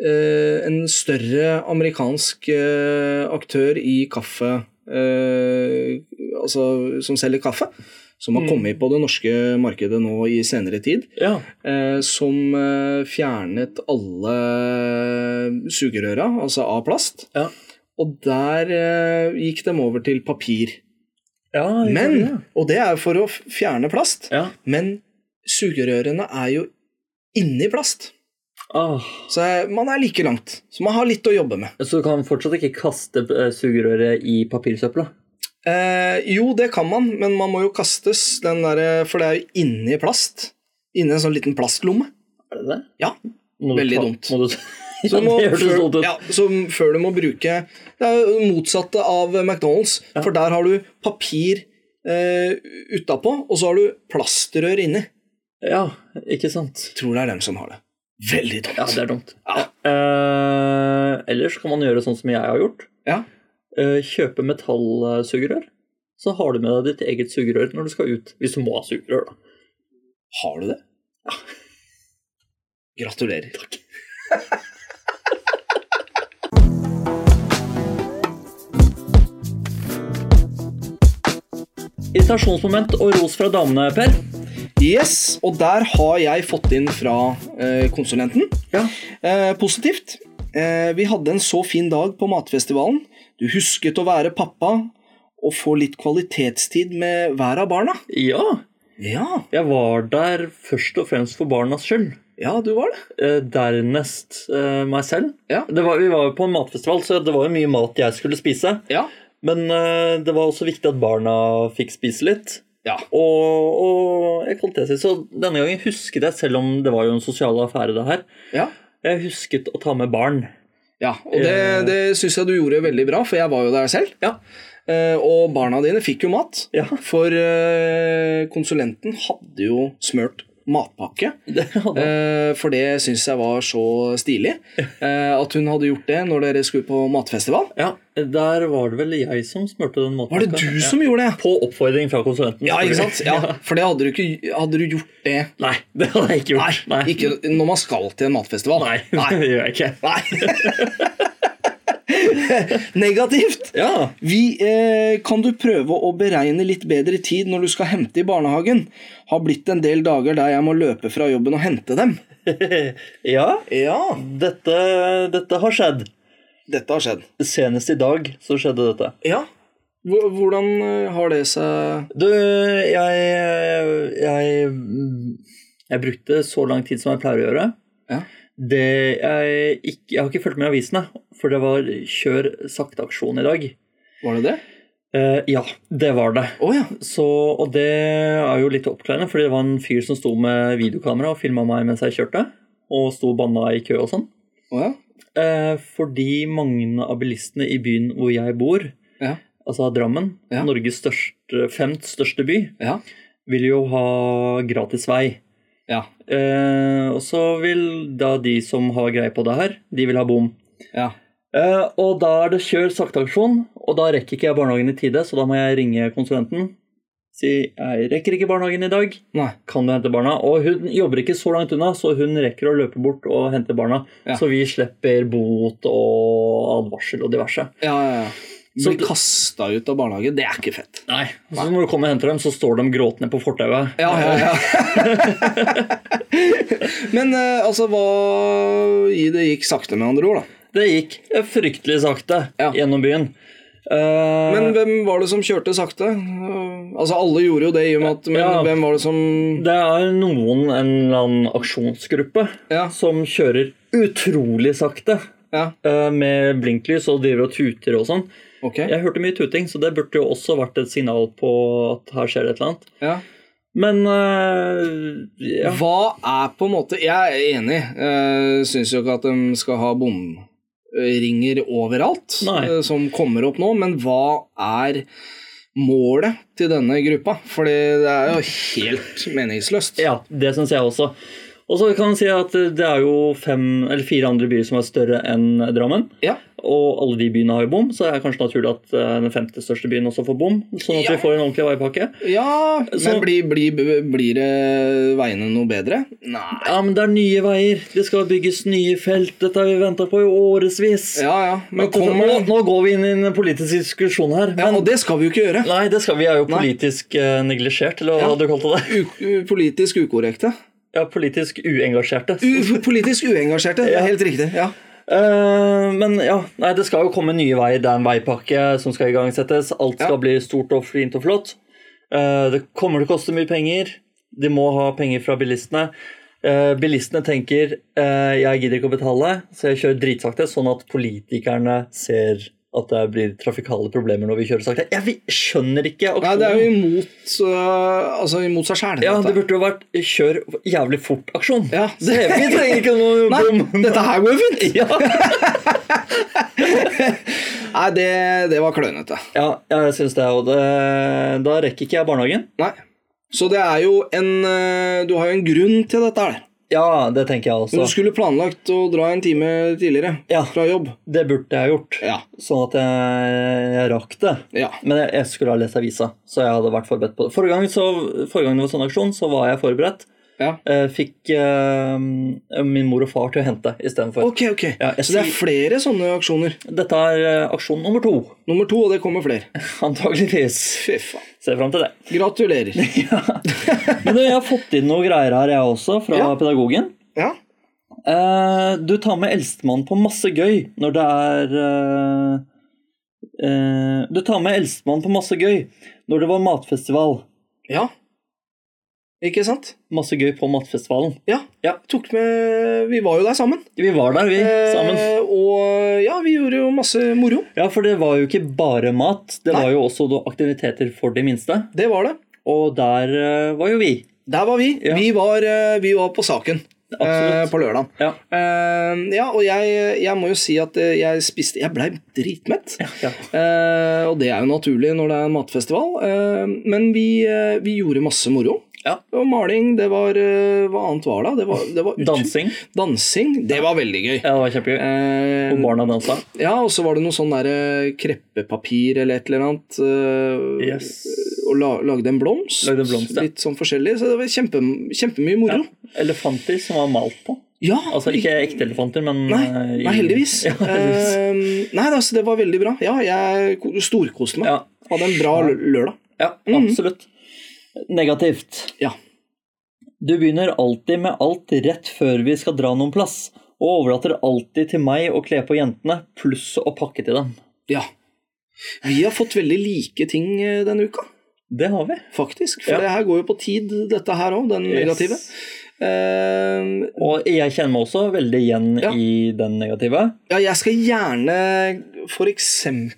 S1: eh, en større amerikansk eh, aktør i kaffe eh, Altså som selger kaffe, som har
S2: Mm.
S1: kommet på det norske markedet nå i senere tid,
S2: Ja.
S1: eh, som eh, fjernet alle sugerøra, altså av plast.
S2: Ja.
S1: Og der eh, gikk de over til papir.
S2: ja jeg tror det.
S1: Men, og det er for å f- fjerne plast,
S2: ja.
S1: men sugerørene er jo inni plast.
S2: Åh.
S1: Så jeg- man er like langt. Så man har litt å jobbe med.
S2: Så du kan fortsatt ikke kaste eh, sugerøret i papirsøpla?
S1: Eh, jo, det kan man, men man må jo kastes, den der, eh, for det er jo inni plast. Inni en sånn liten plastlomme.
S2: Er det det?
S1: Ja.
S2: Må du
S1: Veldig
S2: ta-
S1: dumt.
S2: Må du... ja,
S1: må-
S2: det hørtes
S1: før,
S2: sånn ut.
S1: ja, så før du må bruke Det er jo motsatte av McDonald's, for der har du papir eh, utapå, og så har du plastrør inni.
S2: Ja. ikke sant.
S1: Tror det er dem som har det. Veldig dumt.
S2: Ja, det er dumt.
S1: Ja.
S2: Eh, ellers kan man gjøre sånn som jeg har gjort.
S1: Ja.
S2: Eh, kjøpe metallsugerør. Så har du med deg ditt eget sugerør når du skal ut. Hvis du må ha sugerør, da.
S1: Har du det? Ja. Gratulerer. Takk.
S2: Irritasjonsmoment og ros fra damene, Per.
S1: Yes, og der har jeg fått inn fra eh, konsulenten.
S2: Ja.
S1: Eh, positivt. Eh, vi hadde en så fin dag på matfestivalen. Du husket å være pappa og få litt kvalitetstid med hver av barna.
S2: ja.
S1: Ja,
S2: Jeg var der først og fremst for barnas skyld.
S1: ja du var det.
S2: Eh, dernest eh, meg selv.
S1: Ja.
S2: Det var, vi var jo på en matfestival, så det var jo mye mat jeg skulle spise.
S1: Ja.
S2: Men eh, det var også viktig at barna fikk spise litt.
S1: Ja.
S2: Og, og jeg kvalitetsvis. Så denne gangen husket jeg, selv om det var jo en sosial affære, det her,
S1: Ja.
S2: jeg husket å ta med barn.
S1: ja. Og det, det syns jeg du gjorde veldig bra, for jeg var jo der selv.
S2: Ja.
S1: Eh, og barna dine fikk jo mat.
S2: Ja,
S1: For eh, konsulenten hadde jo smørt matpakke.
S2: det hadde jeg.
S1: Eh, for det syns jeg var så stilig. eh, at hun hadde gjort det når dere skulle på matfestival.
S2: Ja, der var det vel jeg som smurte den måten.
S1: Var det du som gjorde det?
S2: På oppfordring fra konsulenten.
S1: Ja, ikke sant? Ja, for det hadde du ikke Hadde du gjort det
S2: Nei, det hadde jeg ikke gjort.
S1: Nei, ikke når man skal til en matfestival.
S2: Nei, det gjør jeg ikke.
S1: Nei. Negativt!
S2: Ja,
S1: Vi eh, kan du prøve å beregne litt bedre tid når du skal hente i barnehagen. Har blitt en del dager der jeg må løpe fra jobben og hente dem.
S2: ja
S1: Ja,
S2: dette, dette har skjedd.
S1: dette har skjedd.
S2: Senest i dag så skjedde dette.
S1: Ja. Hvor- Hvordan eh, har det seg
S2: Du, jeg, jeg Jeg brukte så lang tid som jeg pleier å gjøre.
S1: Ja.
S2: Det jeg, ikke, jeg har ikke fulgt med i avisene, for det var kjør sakte-aksjon i dag.
S1: Var det det?
S2: Eh, ja, det var det.
S1: Å ja.
S2: Så, og det er jo litt oppklarende, fordi det var en fyr som sto med videokamera og filma meg mens jeg kjørte, og sto og banna i kø og sånn.
S1: Å ja.
S2: Eh, fordi mange av bilistene i byen hvor jeg bor,
S1: Ja.
S2: altså Drammen,
S1: Ja.
S2: Norges største, femt største by,
S1: Ja.
S2: vil jo ha gratis vei.
S1: Ja.
S2: Eh, og så vil da de som har greie på det her, de vil ha bom.
S1: ja.
S2: Eh, og da er det kjør sakteaksjon, og da rekker ikke jeg barnehagen i tide, så da må jeg ringe konsulenten. Si 'jeg rekker ikke barnehagen i dag,
S1: Nei.
S2: kan du hente barna?' Og hun jobber ikke så langt unna, så hun rekker å løpe bort og hente barna.
S1: Ja.
S2: Så vi slipper bot og advarsel og diverse.
S1: Ja, ja, ja.
S2: Så
S1: Bli
S2: du-
S1: kasta ut av barnehagen, det er ikke fett.
S2: Nei. Så når du kommer og henter dem, så står de gråtende på fortauet.
S1: Ja, ja, ja. Men eh, altså, hva i Det gikk sakte, med andre ord, da.
S2: Det gikk fryktelig sakte
S1: Ja.
S2: gjennom byen.
S1: Men
S2: Eh,
S1: hvem var det som kjørte sakte? Altså, alle gjorde jo det, i og med at Men
S2: Ja.
S1: hvem var det som
S2: det er noen, en eller annen aksjonsgruppe,
S1: Ja.
S2: som kjører utrolig sakte
S1: Ja,
S2: eh, med blinklys og driver og tuter og sånn.
S1: ok.
S2: Jeg hørte mye tuting, så det burde jo også vært et signal på at her skjer det et eller annet.
S1: Ja.
S2: Men eh, ja.
S1: Hva er på en måte Jeg er enig. Jeg syns jo ikke at de skal ha bomringer overalt,
S2: Nei.
S1: eh, som kommer opp nå, men hva er målet til denne gruppa? Fordi det er jo helt meningsløst.
S2: ja, det syns jeg også. Og så kan man si at det er jo fem eller fire andre byer som er større enn Drammen.
S1: Ja.
S2: Og alle de byene har jo bom, så det er kanskje naturlig at eh, den femte største byen også får bom. Sånn at
S1: Ja.
S2: vi får en ordentlig veipakke.
S1: Ja, men
S2: Så-
S1: blir, blir, blir det veiene noe bedre? Nei.
S2: Ja, men det er nye veier. Det skal bygges nye felt. Dette har vi venta på i årevis.
S1: Ja, ja. Men
S2: At dette-
S1: kommer
S2: nå,
S1: det
S2: nå går vi inn i en politisk diskusjon her.
S1: ja,
S2: Men
S1: Og det skal vi jo ikke gjøre.
S2: nei, det skal, vi er jo
S1: Nei.
S2: politisk eh, neglisjert, eller hva
S1: Ja.
S2: hadde du kalt det?
S1: U u- politisk ukorrekte.
S2: Ja, politisk uengasjerte.
S1: U politisk uengasjerte. Det
S2: Ja.
S1: er helt riktig. Ja.
S2: Eh, men ja, nei, det skal jo komme nye veier. Det er en veipakke som skal igangsettes. Alt skal
S1: Ja.
S2: bli stort og fint og flott. Eh, det kommer til å koste mye penger. De må ha penger fra bilistene. Eh, bilistene tenker eh, jeg gidder ikke å betale, så jeg kjører dritsakte, sånn at politikerne ser at det blir trafikale problemer når vi kjører sakte. Jeg vi- skjønner ikke
S1: Nei, det er jo imot, øh, altså imot seg sjæl.
S2: Ja, det burde jo vært kjør jævlig fort-aksjon.
S1: Ja.
S2: Det, vi trenger ikke noe bom.
S1: Nei, dette her går jo fint!
S2: Ja.
S1: Nei, det, det var klønete.
S2: Ja, jeg syns det. Og det, da rekker ikke jeg barnehagen.
S1: Nei. Så det er jo en øh, Du har jo en grunn til dette her.
S2: Ja, det tenker jeg
S1: Men du
S2: også.
S1: skulle planlagt å dra en time tidligere
S2: Ja.
S1: fra jobb.
S2: Det burde jeg gjort,
S1: Ja.
S2: sånn at jeg, jeg rakk det.
S1: Ja.
S2: Men jeg, jeg skulle ha lest avisa, så jeg hadde vært forberedt på det. Forrige gang, så, forrige gang det var sånn aksjon, så var jeg forberedt.
S1: ja.
S2: Eh, fikk eh, min mor og far til å hente istedenfor.
S1: Ok, ok.
S2: Ja, jeg
S1: Så det er
S2: sier-
S1: flere sånne aksjoner.
S2: Dette er eh, aksjon nummer to,
S1: Nummer to, og det kommer flere.
S2: antageligvis.
S1: Fy faen.
S2: Ser fram til det.
S1: Gratulerer.
S2: Men du, jeg har fått inn noen greier her, jeg også, fra
S1: Ja.
S2: pedagogen.
S1: Ja.
S2: Eh, du tar med eldstemann på masse gøy når det er eh, eh, Du tar med eldstemann på masse gøy når det var matfestival.
S1: ja. Ikke sant?
S2: Masse gøy på matfestivalen.
S1: Ja.
S2: Ja.
S1: Tok med Vi var jo der sammen.
S2: Vi var der, vi, sammen.
S1: Eh, og ja, vi gjorde jo masse moro.
S2: Ja, for det var jo ikke bare mat. Det
S1: Nei.
S2: var jo også da aktiviteter for de minste.
S1: Det var det.
S2: Og der eh, var jo vi.
S1: Der var vi.
S2: Ja.
S1: Vi, var, eh, vi var på saken eh,
S2: Absolutt.
S1: på lørdag. Eh,
S2: Ja.
S1: ja, og jeg, jeg må jo si at eh, jeg spiste Jeg blei dritmett.
S2: ja.
S1: Eh, og det er jo naturlig når det er en matfestival. Eh, men vi, eh, vi gjorde masse moro.
S2: Ja.
S1: Det var maling, det var eh, Hva annet var det? Det var, det var ut-
S2: Dansing.
S1: Dansing. Det var veldig gøy.
S2: Ja, det var kjempegøy.
S1: Eh,
S2: Og barna dansa.
S1: Ja, og så var det noe sånn der eh, kreppepapir eller et eller annet. eh,
S2: Yes.
S1: Og la, lagde en blomst.
S2: Lagde en blomst, ja.
S1: Litt sånn forskjellig. Så det var kjempe, kjempemye
S2: Ja.
S1: moro.
S2: Elefanter som var malt på.
S1: Ja,
S2: Altså ikke ekte elefanter, men
S1: Nei,
S2: eh, i-
S1: nei heldigvis.
S2: Ja, heldigvis.
S1: Eh, nei, altså, det var veldig bra. Ja, jeg ko- storkoste meg.
S2: Ja.
S1: Hadde en bra lø- lørdag.
S2: Ja, absolutt. Mm. Negativt.
S1: Ja.
S2: Du begynner alltid med alt rett før vi skal dra noen plass, og overlater alltid til meg å kle på jentene, pluss å pakke til dem.
S1: ja. Vi har fått veldig like ting eh, denne uka,
S2: Det har vi.
S1: faktisk. For
S2: Ja.
S1: det her går jo på tid, dette her òg, den negative.
S2: Yes.
S1: Eh,
S2: Og jeg kjenner meg også veldig igjen
S1: Ja.
S2: i den negative.
S1: Ja, jeg skal gjerne for eksempel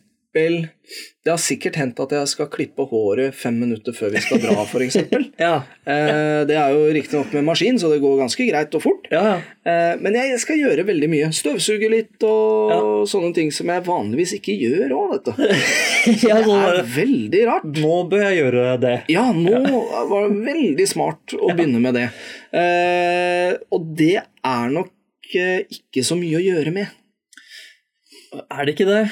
S1: Det har sikkert hendt at jeg skal klippe håret fem minutter før vi skal dra, for eksempel.
S2: Ja,
S1: Eh, det er jo riktignok med maskin, så det går ganske greit og fort.
S2: ja, ja.
S1: Eh, men jeg skal gjøre veldig mye. Støvsuge litt og
S2: Ja.
S1: sånne ting som jeg vanligvis ikke gjør òg, vet du.
S2: Jeg er
S1: Det
S2: sånn
S1: er
S2: der,
S1: veldig rart.
S2: Nå bør jeg gjøre det.
S1: Ja, nå var det veldig smart å begynne med det. Eh, og det er nok eh, ikke så mye å gjøre med.
S2: Er det ikke det?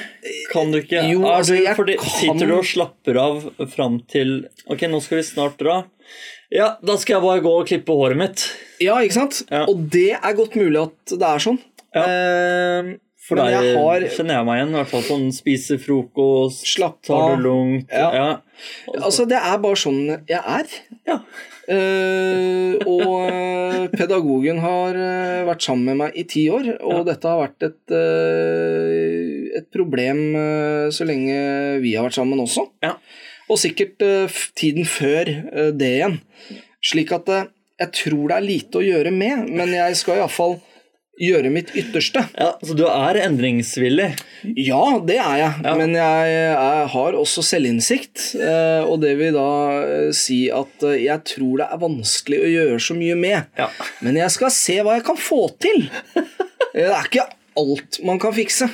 S2: Kan du ikke?
S1: Jo,
S2: Er
S1: altså,
S2: du-
S1: jeg
S2: fordi,
S1: kan-
S2: Sitter du og slapper av fram til Ok, nå skal vi snart dra. Ja, da skal jeg bare gå og klippe håret mitt.
S1: Ja, ikke sant?
S2: Ja.
S1: Og det er godt mulig at det er sånn.
S2: Ja.
S1: Eh,
S2: Ehm, For
S1: Men
S2: der
S1: jeg har-
S2: kjenner jeg meg igjen. I hvert fall sånn spise frokost,
S1: Slapp
S2: tar
S1: av.
S2: det lugnt.
S1: Ja.
S2: Ja.
S1: altså, det er bare sånn jeg er.
S2: Ja.
S1: Eh, og eh, pedagogen har eh, vært sammen med meg i ti år, og dette har vært et, eh, et problem eh, så lenge vi har vært sammen også.
S2: Ja.
S1: Og sikkert eh, f- tiden før eh, det igjen. Slik at eh, jeg tror det er lite å gjøre med, men jeg skal iallfall gjøre mitt ytterste.
S2: ja, Så du er endringsvillig?
S1: Ja, det er jeg,
S2: Ja.
S1: men jeg, jeg har også selvinnsikt. eh, Og det vil da eh, si at eh, jeg tror det er vanskelig å gjøre så mye med.
S2: Ja.
S1: Men jeg skal se hva jeg kan få til. Eh, Det er ikke alt man kan fikse.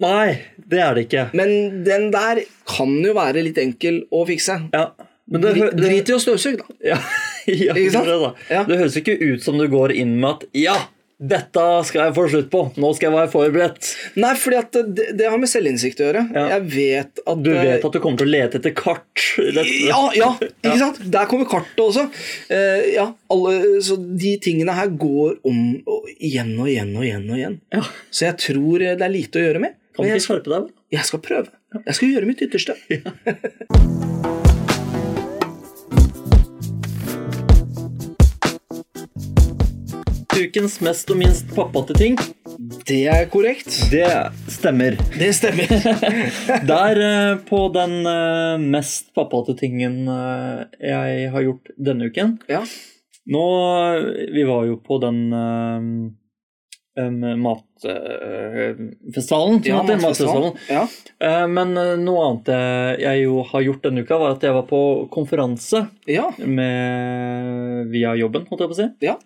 S2: Nei, det er det ikke.
S1: Men den der kan jo være litt enkel å fikse.
S2: Ja. Men det, hø-
S1: Dri-
S2: det,
S1: Drit i å støvsuge, da.
S2: ja, ja,
S1: Ikke sant?
S2: det da.
S1: Ja.
S2: det høres ikke ut som du går inn med at Ja, dette skal jeg få slutt på. Nå skal jeg være forberedt.
S1: Nei, fordi at det, det har med selvinnsikt å gjøre.
S2: Ja.
S1: Jeg vet at
S2: Du
S1: eh,
S2: vet at du kommer til å lete etter kart. rett-
S1: Ja, ja, ikke sant? Der kommer kartet også. Eh, ja, alle, så de tingene her går om og igjen og igjen og igjen. og igjen.
S2: Ja.
S1: Så jeg tror eh, det er lite å gjøre med.
S2: Kan du
S1: Men
S2: ikke
S1: jeg,
S2: skjerpe deg? vel?
S1: jeg skal prøve. Jeg skal gjøre mitt ytterste.
S2: Ukens mest og minst pappa til ting,
S1: Det er korrekt.
S2: det stemmer.
S1: Det stemmer.
S2: Der eh, på den eh, mest pappa til tingen eh, jeg har gjort denne uken
S1: Ja.
S2: Nå, eh, Vi var jo på den eh, matfestivalen.
S1: Ja, matfestivalen. Ja.
S2: Men eh, noe annet eh, jeg jo har gjort denne uka, var at jeg var på konferanse
S1: ja.
S2: med, via jobben, holdt jeg på å si.
S1: Ja.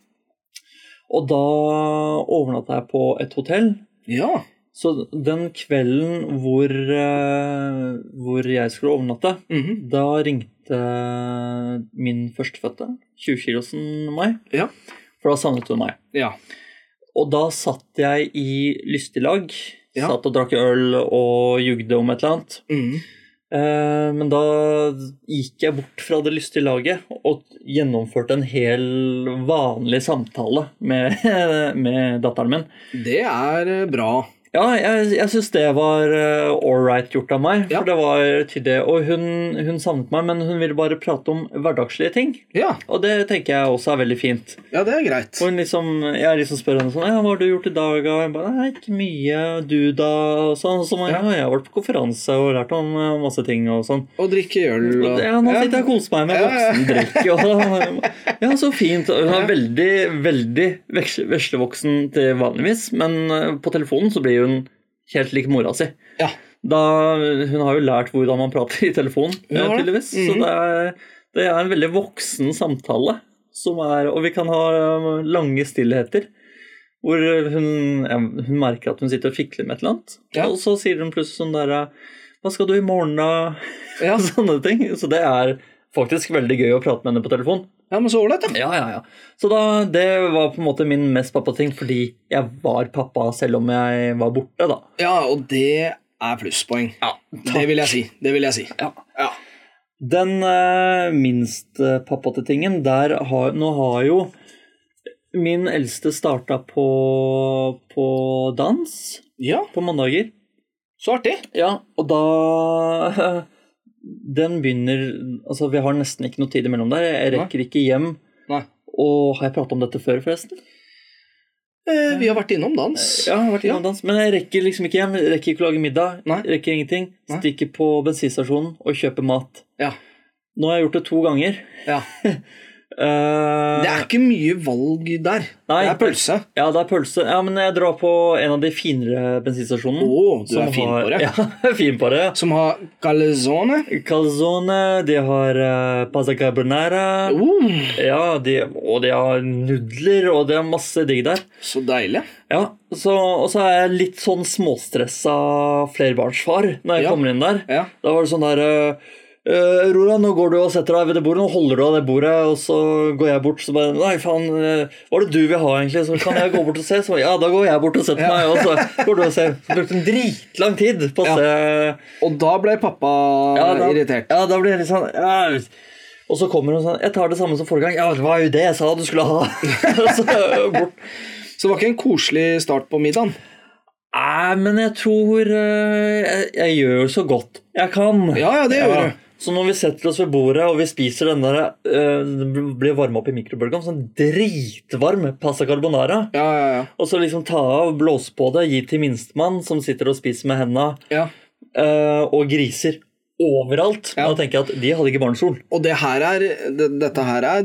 S2: Og da overnatta jeg på et hotell.
S1: Ja.
S2: Så den kvelden hvor, eh, hvor jeg skulle overnatte,
S1: Mhm.
S2: da ringte min førstefødte, 20-kilosen meg,
S1: Ja.
S2: for da savnet hun meg.
S1: ja.
S2: Og da satt jeg i lystig lag,
S1: Ja.
S2: satt og drakk øl og jugde om et eller annet.
S1: Mhm.
S2: Eh, Men da gikk jeg bort fra det lystige laget og gjennomførte en hel vanlig samtale med, med datteren min.
S1: Det er eh, bra.
S2: Ja, jeg, jeg syns det var ålreit gjort av meg.
S1: Ja.
S2: For det var tydelig. Og hun, hun savnet meg, men hun ville bare prate om hverdagslige ting.
S1: Ja.
S2: Og det tenker jeg også er veldig fint.
S1: ja, det er greit.
S2: Og hun liksom, jeg liksom spør henne sånn ja, 'Hva har du gjort i dag?' Og jeg bare 'Nei, ikke mye. Du, da?' Og sånn. Og så, ja, 'Jeg har vært på konferanse og lært om eh, masse ting', og sånn.
S1: Og drikke øl og
S2: Ja, nå sitter jeg og koser meg med
S1: Ja, ja.
S2: voksendrikk. og- Ja, så fint. Hun er veldig, veldig veks- veslevoksen til vanligvis, men eh, på telefonen så blir hun helt lik mora si.
S1: Ja.
S2: Da, hun har jo lært hvordan man prater i telefonen,
S1: Hun har
S2: eh,
S1: det.
S2: tydeligvis.
S1: Mhm.
S2: Så det er, det er en veldig voksen samtale, som er, og vi kan ha eh, lange stillheter. Hvor hun, ja, hun merker at hun sitter og fikler med et eller annet.
S1: Ja.
S2: Og så sier hun plutselig sånn der eh, Hva skal du i morgen, da?
S1: Ja.
S2: og sånne ting. Så det er faktisk veldig gøy å prate med henne på telefon.
S1: ja, men så ålreit, da.
S2: Ja, ja, ja. Så da, det var på en måte min mest pappating, fordi jeg var pappa selv om jeg var borte, da.
S1: Ja, og det er plusspoeng.
S2: Ja,
S1: Det vil jeg si. Det vil jeg si.
S2: Ja.
S1: Ja.
S2: Den eh, minst eh, pappate tingen, der har Nå har jo min eldste starta på, på dans
S1: ja.
S2: på mandager.
S1: Så artig.
S2: Ja, og da Den begynner Altså, vi har nesten ikke noe tid imellom der. Jeg rekker ikke hjem.
S1: Nei.
S2: Og har jeg prata om dette før, forresten?
S1: Eh, vi har vært innom dans.
S2: Ja, jeg har vært innom dans, Men jeg rekker liksom ikke hjem. jeg Rekker ikke å lage middag.
S1: Nei.
S2: Rekker ingenting.
S1: Nei.
S2: Stikker på bensinstasjonen og kjøper mat.
S1: Ja.
S2: Nå har jeg gjort det to ganger.
S1: Ja.
S2: Eh,
S1: Det er ikke mye valg der.
S2: Nei.
S1: det er pølse.
S2: Ja, det er pølse. Ja, men jeg drar på en av de finere bensinstasjonene.
S1: Å, du er fin på det.
S2: Mm. Ja, fin på det. ja.
S1: Som har calzone.
S2: Calzone, de har uh, pasta carbonara.
S1: Oh,
S2: Ja, de, og de har nudler, og det er masse digg der.
S1: så deilig.
S2: Ja, så, Og så er jeg litt sånn småstressa flerbarnsfar når jeg
S1: Ja.
S2: kommer inn der.
S1: Ja.
S2: Da var det sånn der eh, Eh, Aurora, nå går du og setter deg ved det bordet, nå holder du av det bordet, og så går jeg bort, så bare Nei, faen, eh, hva er det du vil ha, egentlig? Så kan jeg gå bort og se? Så ja, da går jeg bort og setter meg, og så går du og ser. Så brukte en dritlang tid på å
S1: Ja.
S2: se
S1: Og da ble pappa irritert.
S2: Ja, da blir jeg litt sånn ja. Og så kommer hun sånn Jeg tar det samme som forrige gang. Ja, det var jo det jeg sa du skulle ha. Og så bort.
S1: Så det var ikke en koselig start på middagen.
S2: Nei, men jeg tror eh, jeg, jeg gjør jo så godt jeg kan.
S1: Ja, ja, det gjør du.
S2: Så når vi setter oss ved bordet og vi spiser den der eh, Den blir varma opp i mikrobølgen, sånn dritvarm pasta carbonara.
S1: Ja, ja, ja.
S2: Og så liksom ta av, blåse på det, gi til minstemann som sitter og spiser med henda,
S1: ja.
S2: eh, og griser overalt.
S1: Ja.
S2: Da tenker jeg at de hadde ikke barnesol.
S1: Og det her er, det, dette her er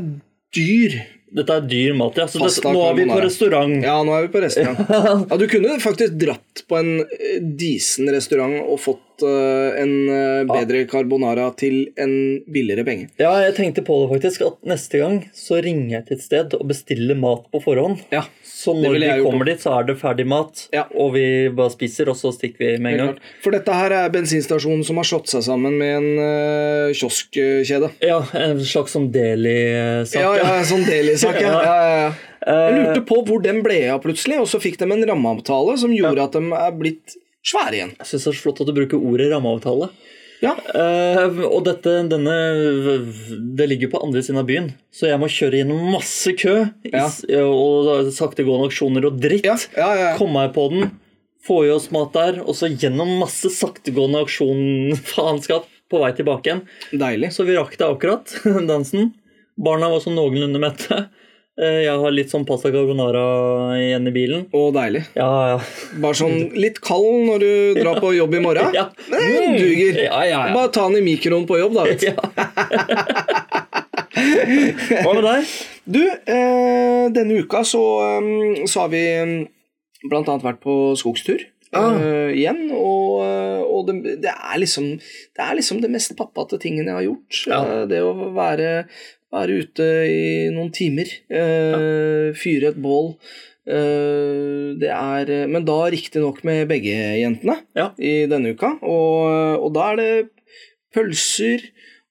S1: dyr.
S2: Dette er dyr mat, ja. Så det,
S1: Pasta
S2: nå er vi på
S1: carbonara.
S2: restaurant.
S1: Ja, nå er vi på restaurant. Ja, Du kunne faktisk dratt på en eh, disen restaurant og fått eh, en eh, bedre carbonara til en billigere penge.
S2: Ja, jeg tenkte på det faktisk, at neste gang så ringer jeg til et sted og bestiller mat på forhånd.
S1: Ja,
S2: Så
S1: Det
S2: når
S1: ville
S2: vi
S1: jeg gjort
S2: kommer dit, så er det ferdig mat,
S1: Ja.
S2: og vi bare spiser, og så stikker vi med en gang.
S1: Helt klart. For dette her er bensinstasjonen som har slått seg sammen med en eh, kioskkjede.
S2: Ja, en slags som deli-sak.
S1: Ja, ja, en sånn delisak, ja. ja, ja, ja. Jeg
S2: Eh,
S1: lurte på hvor den ble av plutselig, og så fikk de en rammeavtale som gjorde at de er blitt svære igjen.
S2: Jeg syns det er så flott at du bruker ordet rammeavtale.
S1: Ja,
S2: Eh, og dette, denne Det ligger jo på andre siden av byen, så jeg må kjøre gjennom masse kø i,
S1: Ja.
S2: s- og saktegående aksjoner og dritt.
S1: ja, ja. ja, ja.
S2: Komme meg på den, få i oss mat der, og så gjennom masse saktegående aksjonfaenskap på vei tilbake igjen.
S1: Deilig.
S2: Så vi rakk det akkurat, dansen. Barna var sånn noenlunde mette. Eh, Jeg har litt sånn pasta carbonara igjen i bilen.
S1: Og deilig.
S2: Ja, ja.
S1: Bare sånn litt kald når du drar på jobb i morgen.
S2: Ja.
S1: Det duger.
S2: Ja, ja, ja.
S1: Bare ta den i mikroen på jobb, da. vet du.
S2: ja. Hva med deg?
S1: Du, eh, denne uka så, eh, så har vi eh, blant annet vært på skogstur. eh,
S2: Ah.
S1: igjen, og, eh, og det, det, er liksom, det er liksom det mest pappate tingen jeg har gjort.
S2: Ja.
S1: Eh, Det å være, være ute i noen timer, eh, fyre et bål. eh, det er Men da riktignok med begge jentene
S2: Ja.
S1: i denne uka. Og, og da er det pølser,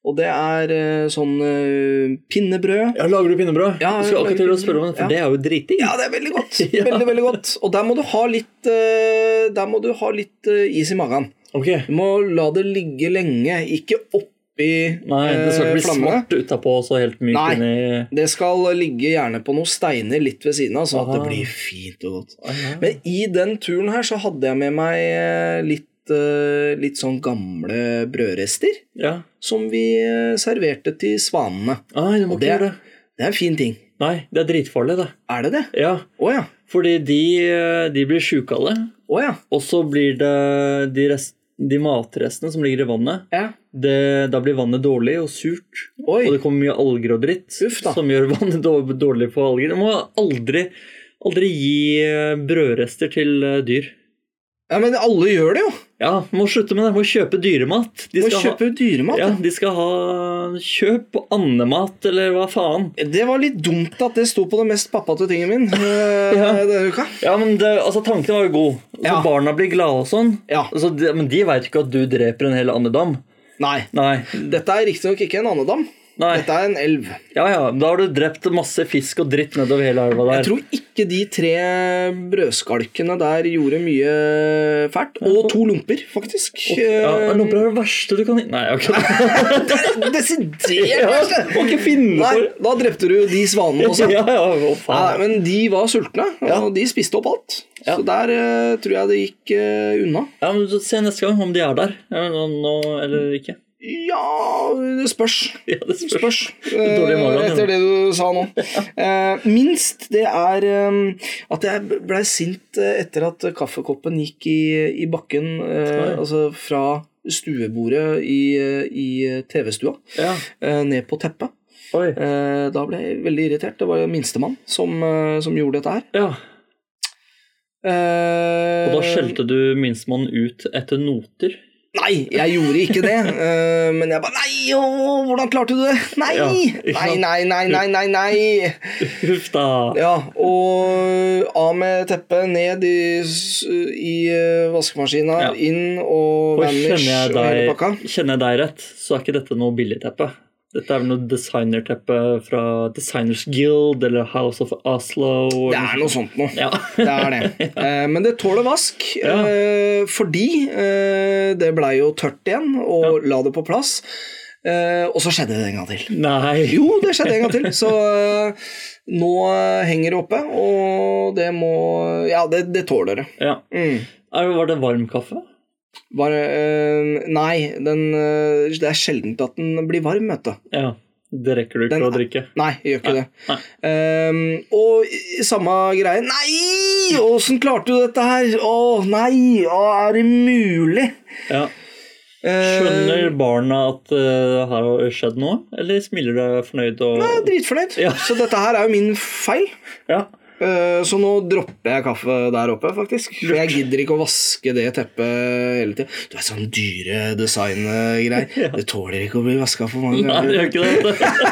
S1: og det er eh, sånn eh, pinnebrød.
S2: Ja, lager du pinnebrød?
S1: Ja,
S2: jeg skal
S1: lager
S2: akkurat til å spørre om det, for
S1: pinnebrød.
S2: det er jo drittig.
S1: Ja, det er veldig godt.
S2: Ja.
S1: Veldig, veldig godt. Og der må du ha litt, eh, der må du ha litt eh, is i magen.
S2: Ok.
S1: Du må la det ligge lenge, ikke oppi
S2: Nei, det skal
S1: eh,
S2: ikke bli
S1: flammene.
S2: svart utapå og så helt mykt
S1: Nei.
S2: inni
S1: Det skal ligge gjerne på noen steiner litt ved siden av, sånn at
S2: Aha.
S1: det blir fint og godt.
S2: Aha.
S1: Men i den turen her så hadde jeg med meg eh, litt, eh, litt sånn gamle brødrester
S2: Ja.
S1: som vi eh, serverte til svanene.
S2: Nei, du må
S1: Og
S2: ikke
S1: det-
S2: gjøre det.
S1: Det er en fin ting.
S2: Nei, det er dritfarlig, det.
S1: Er det det?
S2: Ja.
S1: Å ja.
S2: Fordi de, eh, de blir sjuke av det,
S1: Å ja.
S2: og så blir det de, rest, de matrestene som ligger i vannet
S1: ja.
S2: det, Da blir vannet dårlig og surt,
S1: Oi.
S2: og det kommer mye alger og dritt
S1: Uff da.
S2: som gjør vannet då- dårlig for alger. Du må aldri, aldri gi eh, brødrester til eh, dyr.
S1: ja. Men alle gjør det jo.
S2: Ja, må slutte med det. Må kjøpe dyremat. De
S1: Må
S2: skal ha-
S1: kjøpe dyremat.
S2: Ja,
S1: ja.
S2: de skal ha kjøp andemat, eller hva faen.
S1: Det var litt dumt at det sto på det mest pappate tingen min eh,
S2: Ja.
S1: denne uka.
S2: Ja, men det, altså Tanken var jo god. Så
S1: Ja.
S2: Barna blir glade og sånn.
S1: Ja.
S2: Altså, de, men de veit ikke at du dreper en hel andedam.
S1: Nei.
S2: Nei.
S1: Dette er riktignok ikke en andedam.
S2: Nei.
S1: Dette er en elv.
S2: Ja, ja, Da har du drept masse fisk og dritt nedover hele elva der.
S1: Jeg tror ikke de tre brødskalkene der gjorde mye fælt. Og to lomper, faktisk.
S2: ja,
S1: Eh,
S2: Lomper er det verste du kan Nei, ok.
S1: Desidert
S2: Ja,
S1: verste!
S2: må ikke finne
S1: Nei,
S2: for
S1: da drepte du de svanene også.
S2: Ja, ja, å
S1: Nei,
S2: faen.
S1: men de var sultne,
S2: Ja.
S1: og de spiste opp alt.
S2: Ja.
S1: Så der eh, tror jeg det gikk eh, unna.
S2: Ja, men Se neste gang om de er der. Ja, nå, nå, eller ikke.
S1: Ja, det spørs.
S2: Ja, det
S1: Det
S2: spørs.
S1: spørs. eh,
S2: Dårlig i magen,
S1: Etter det du sa nå. Eh, Minst det er eh, at jeg blei sint eh, etter at kaffekoppen gikk i, i bakken, eh,
S2: Oi.
S1: altså fra stuebordet i, eh, i TV-stua,
S2: Ja.
S1: eh, ned på teppet.
S2: Oi.
S1: Eh, Da ble jeg veldig irritert. Det var minstemann som, eh, som gjorde dette her.
S2: Ja.
S1: Eh,
S2: Og da skjelte du minstemann ut etter noter.
S1: Nei, jeg gjorde ikke det. eh, men jeg bare Nei, å, hvordan klarte du det? Nei!
S2: Ja, ikke
S1: Nei,
S2: sant?
S1: nei, nei, nei, nei, nei.
S2: Huff da.
S1: Ja, og av med teppet, ned i, s- i eh, vaskemaskina,
S2: Ja.
S1: inn og
S2: Og
S1: vanish
S2: kjenner jeg,
S1: og hele pakka.
S2: deg, kjenner jeg deg rett, så er ikke dette noe billigteppe. Dette er vel noe designerteppe fra Designers Guild eller House of Oslo.
S1: Det er noe sånt noe.
S2: Ja.
S1: Det er det. Eh, Men det tåler vask,
S2: Ja.
S1: eh, fordi eh, det blei jo tørt igjen, og la det på plass. Eh, Og så skjedde det en gang til.
S2: Nei.
S1: Jo, det skjedde en gang til, så eh, nå eh, henger det oppe, og det må Ja, det, det tåler det.
S2: Ja.
S1: Mm.
S2: Er, var det varm kaffe?
S1: Bare eh, Nei, den, eh, det er sjelden at den blir varm, vet du.
S2: Ja. Det rekker du ikke
S1: Den
S2: å drikke.
S1: Nei, jeg gjør ikke det.
S2: Nei.
S1: Ehm, og i- samme greie Nei! Åssen klarte du dette her? Å nei! Å, er det mulig?
S2: Ja.
S1: Ehm,
S2: Skjønner barna at eh, det har skjedd noe, eller smiler du deg fornøyd og
S1: Jeg er dritfornøyd.
S2: Ja.
S1: Så dette her er jo min feil.
S2: Ja.
S1: Eh, Så nå dropper jeg kaffe der oppe, faktisk. For jeg gidder ikke å vaske det teppet hele tida. Du er sånn dyre designgreier. Det tåler ikke å bli vaska for mange
S2: Nei, det gjør ikke det. vet du.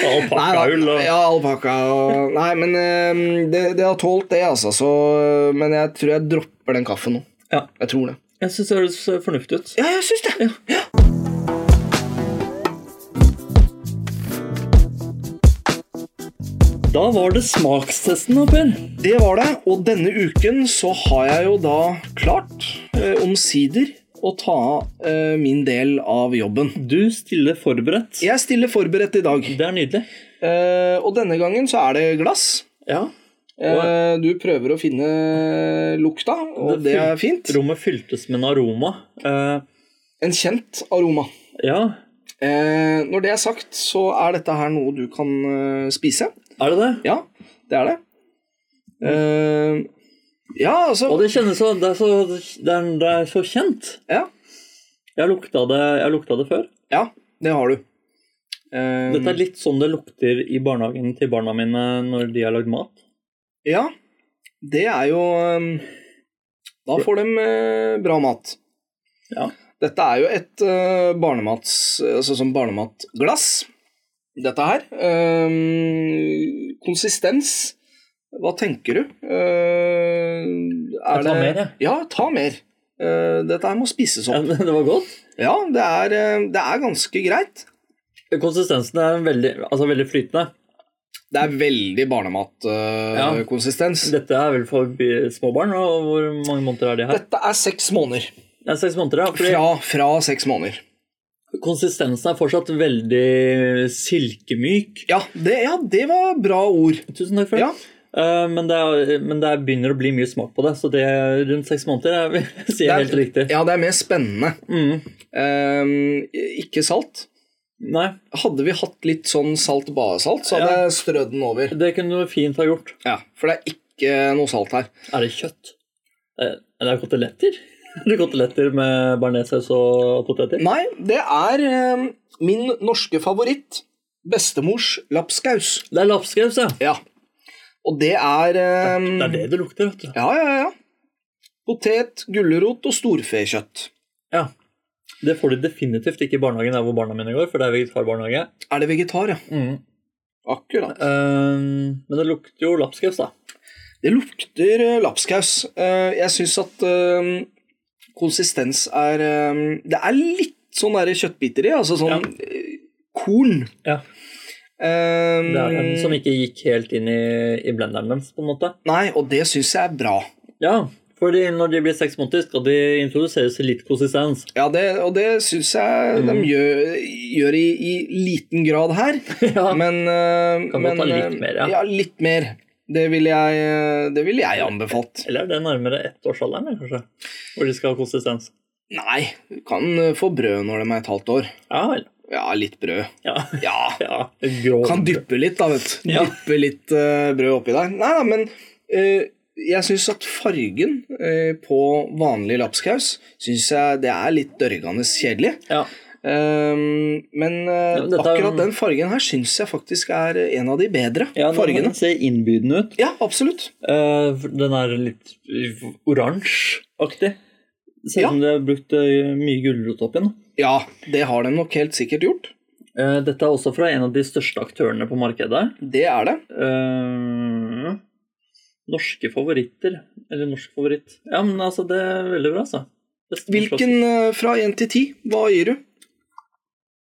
S2: Alpakkahull
S1: da,
S2: og
S1: ja, alpakka og Nei, men eh, det, det har tålt det, altså. Så, men jeg tror jeg dropper den kaffen nå.
S2: Ja.
S1: Jeg tror det.
S2: Jeg syns det høres fornuftig ut.
S1: Ja, jeg syns det. Ja.
S2: Da var det smakstesten, da, Per.
S1: Det var det. Og denne uken så har jeg jo da klart, eh, omsider, å ta eh, min del av jobben.
S2: Du stiller forberedt.
S1: Jeg stiller forberedt i dag.
S2: Det er nydelig.
S1: Eh, og denne gangen så er det glass.
S2: Ja.
S1: Eh, du prøver å finne lukta, og det er fint.
S2: Rommet fyltes med en aroma. Eh,
S1: En kjent aroma.
S2: ja.
S1: Eh, når det er sagt, så er dette her noe du kan eh, spise.
S2: Er det det?
S1: Ja, det er det. Eh, ja, altså
S2: Mm. Og det kjennes så Det er så, det er, det er så kjent.
S1: ja,
S2: Jeg lukta, det, jeg lukta det før.
S1: ja, det har du. Eh,
S2: Dette er litt sånn det lukter i barnehagen til barna mine når de har lagd mat.
S1: Ja, det er jo eh, Da får de eh, bra mat.
S2: Ja.
S1: Dette er jo et eh, barnemats, altså sånn barnematglass, dette her. Eh, konsistens, hva tenker du? Eh, er
S2: Jeg tar mer, jeg.
S1: Ja, ta mer. Eh, dette her må spises
S2: Ja,
S1: opp.
S2: men det var godt.
S1: Ja, det er, eh, det er ganske greit.
S2: Konsistensen er veldig, altså veldig flytende.
S1: Det er veldig eh,
S2: Ja.
S1: barnematkonsistens.
S2: Dette er vel for bi- små barn? Og hvor mange måneder er de her?
S1: dette er seks måneder.
S2: Det er seks måneder, ja. Fordi
S1: Fra, fra seks måneder.
S2: konsistensen er fortsatt veldig silkemyk.
S1: Ja det, ja, det var bra ord.
S2: Tusen takk for det.
S1: Ja,
S2: Eh, men, det er, men det er- begynner å bli mye smak på det, så det er rundt seks måneder er, sier jeg helt riktig.
S1: ja det er mer spennende.
S2: Mm.
S1: Ehm, ikke salt.
S2: Nei,
S1: Hadde vi hatt litt sånn salt badesalt, så hadde
S2: Ja.
S1: jeg strødd den over.
S2: det kunne du fint ha gjort.
S1: Ja, For det er ikke noe salt her.
S2: Er det kjøtt? Eh, er det koteletter? Er det koteletter med bearnéssaus og poteter?
S1: Nei, det er ehm, min norske favoritt. Bestemors lapskaus.
S2: Det er lapskaus, ja.
S1: Ja. Og det er ehm,
S2: Det er det det lukter, vet du.
S1: Ja, ja, ja. Potet, gulrot og storfekjøtt.
S2: Ja. Det får de definitivt ikke i barnehagen der hvor barna mine går, for det er vegetarbarnehage.
S1: Er det vegetar, ja?
S2: Mm.
S1: Akkurat.
S2: Eh, men det lukter jo lapskaus, da.
S1: Det lukter eh, lapskaus. Eh, Jeg syns at eh, konsistens er eh, Det er litt sånn der kjøttbiter i, altså sånn eh, korn. Eh,
S2: Ja. Det er den som ikke gikk helt inn i, i blenderen deres, på en måte.
S1: Nei, og det syns jeg er bra.
S2: Ja, fordi når de blir seks måneder, skal de introduseres til litt konsistens.
S1: Ja, det, og det syns jeg
S2: Mm.
S1: de gjør, gjør i, i liten grad her.
S2: Ja.
S1: Men, eh,
S2: Kan godt
S1: men,
S2: ha litt
S1: eh,
S2: mer, ja.
S1: ja. Litt mer. Det ville jeg, eh, det ville jeg anbefalt.
S2: Eller er det nærmere ettårsalderen, eller kanskje? Hvor de skal ha konsistens.
S1: Nei, du kan eh, få brød når de er et halvt år.
S2: Ja vel.
S1: Ja, litt brød.
S2: Ja.
S1: Ja,
S2: ja. Grå.
S1: Kan dyppe litt, da, vet du.
S2: Ja.
S1: Dyppe litt eh, brød oppi der. Nei da, men eh, jeg syns at fargen eh, på vanlig lapskaus synes jeg det er litt dørgende kjedelig.
S2: Ja.
S1: Ehm, men eh,
S2: Ja, men dette er-
S1: akkurat den fargen her syns jeg faktisk er en av de bedre
S2: ja
S1: fargene.
S2: den ser innbydende ut.
S1: Ja, absolutt.
S2: Eh, den er litt oransjeaktig. Det ser ut
S1: Ja.
S2: som de har brukt eh, mye gulrot oppi den.
S1: Ja, det har de nok helt sikkert gjort.
S2: Eh, Dette er også fra en av de største aktørene på markedet.
S1: Det er det.
S2: Eh, norske favoritter. Eller norsk favoritt. Ja, men altså, det er veldig bra, altså. Beste
S1: Hvilken eh, fra 1 til 10? Hva gir du?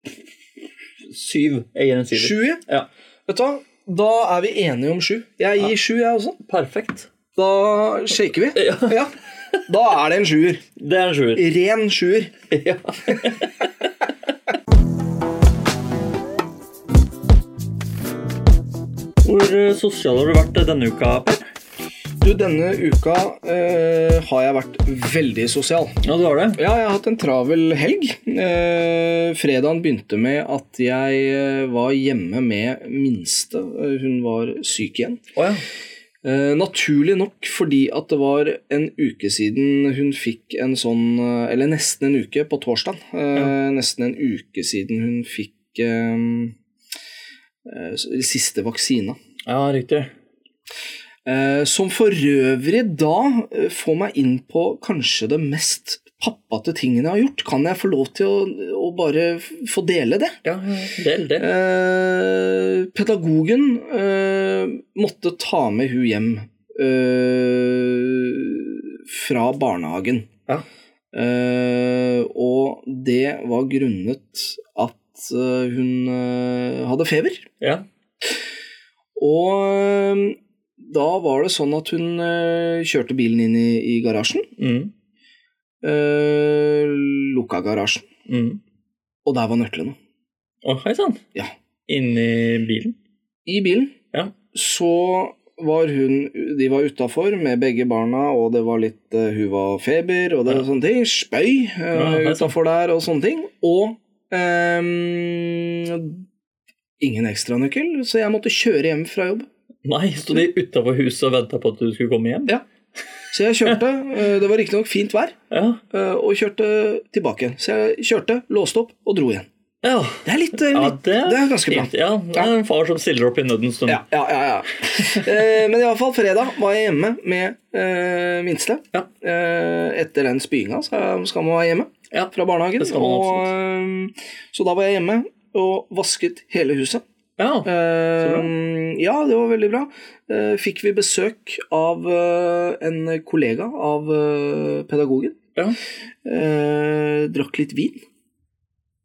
S2: norske- Syv. Jeg gir en syver.
S1: 7?
S2: Ja.
S1: Vet du hva? Da er vi enige om 7. Jeg gir 7, jeg også.
S2: Perfekt.
S1: Da shaker vi.
S2: Ja.
S1: Ja. Da er det en sjuer.
S2: Det er en sjuer.
S1: Ren sjuer.
S2: Ja. Hvor eh, sosial har du vært denne uka, Per?
S1: Du, denne uka eh, har jeg vært veldig sosial.
S2: Ja, du har det?
S1: Ja, jeg har hatt en travel helg. Eh, fredagen begynte med at jeg eh, var hjemme med minste. Eh, Hun var syk igjen.
S2: Å ja.
S1: Eh, naturlig nok fordi at det var en uke siden hun fikk en sånn eh, Eller nesten en uke på torsdag. Eh, Nesten en uke siden hun fikk eh, eh, s- siste vaksina.
S2: Ja, riktig.
S1: Eh, som for øvrig da eh, får meg inn på kanskje det mest pappate tingen jeg har gjort. Kan jeg få lov til å, å bare f- få dele det?
S2: Ja, ja, del det.
S1: Eh, pedagogen eh, måtte ta med hun hjem eh, fra barnehagen.
S2: Ja.
S1: Eh, og det var grunnet at eh, hun eh, hadde feber.
S2: Ja.
S1: Og øhm, da var det sånn at hun øh, kjørte bilen inn i, i garasjen.
S2: Mm.
S1: øh, lukka garasjen,
S2: Mm.
S1: og der var nøklene.
S2: Å, hei sann.
S1: Ja.
S2: Inni bilen.
S1: I bilen
S2: Ja.
S1: så var hun De var utafor med begge barna, og det var litt øh, Hun var feber, og det var
S2: Ja.
S1: sånne ting. Spøy
S2: Ja,
S1: uh,
S2: det er sant.
S1: utafor der, og sånne ting. Og øhm, Ingen ekstranøkkel, så jeg måtte kjøre hjem fra jobb.
S2: Nei, sto de utafor huset og venta på at du skulle komme hjem?
S1: Så jeg kjørte. øh, det var riktignok fint vær.
S2: Ja.
S1: eh, og kjørte tilbake igjen. Så jeg kjørte, låste opp og dro igjen.
S2: Ja,
S1: Det er litt, eh,
S2: ja
S1: litt
S2: det,
S1: Det er ganske bra.
S2: fint. Ja, det er en far som stiller opp i nødens stund.
S1: Ja, ja, ja, ja. Eh, Men i alle fall fredag var jeg hjemme med eh, minste.
S2: Ja.
S1: Eh, etter den spyinga så skal man være hjemme
S2: Ja.
S1: fra barnehagen.
S2: Det skal man
S1: og, eh, så da var jeg hjemme og vasket hele huset.
S2: Ja.
S1: Eh,
S2: bra.
S1: ja, det var veldig bra. Eh, fikk vi besøk av eh, en kollega av eh, pedagogen.
S2: Ja.
S1: Eh, drakk litt vin.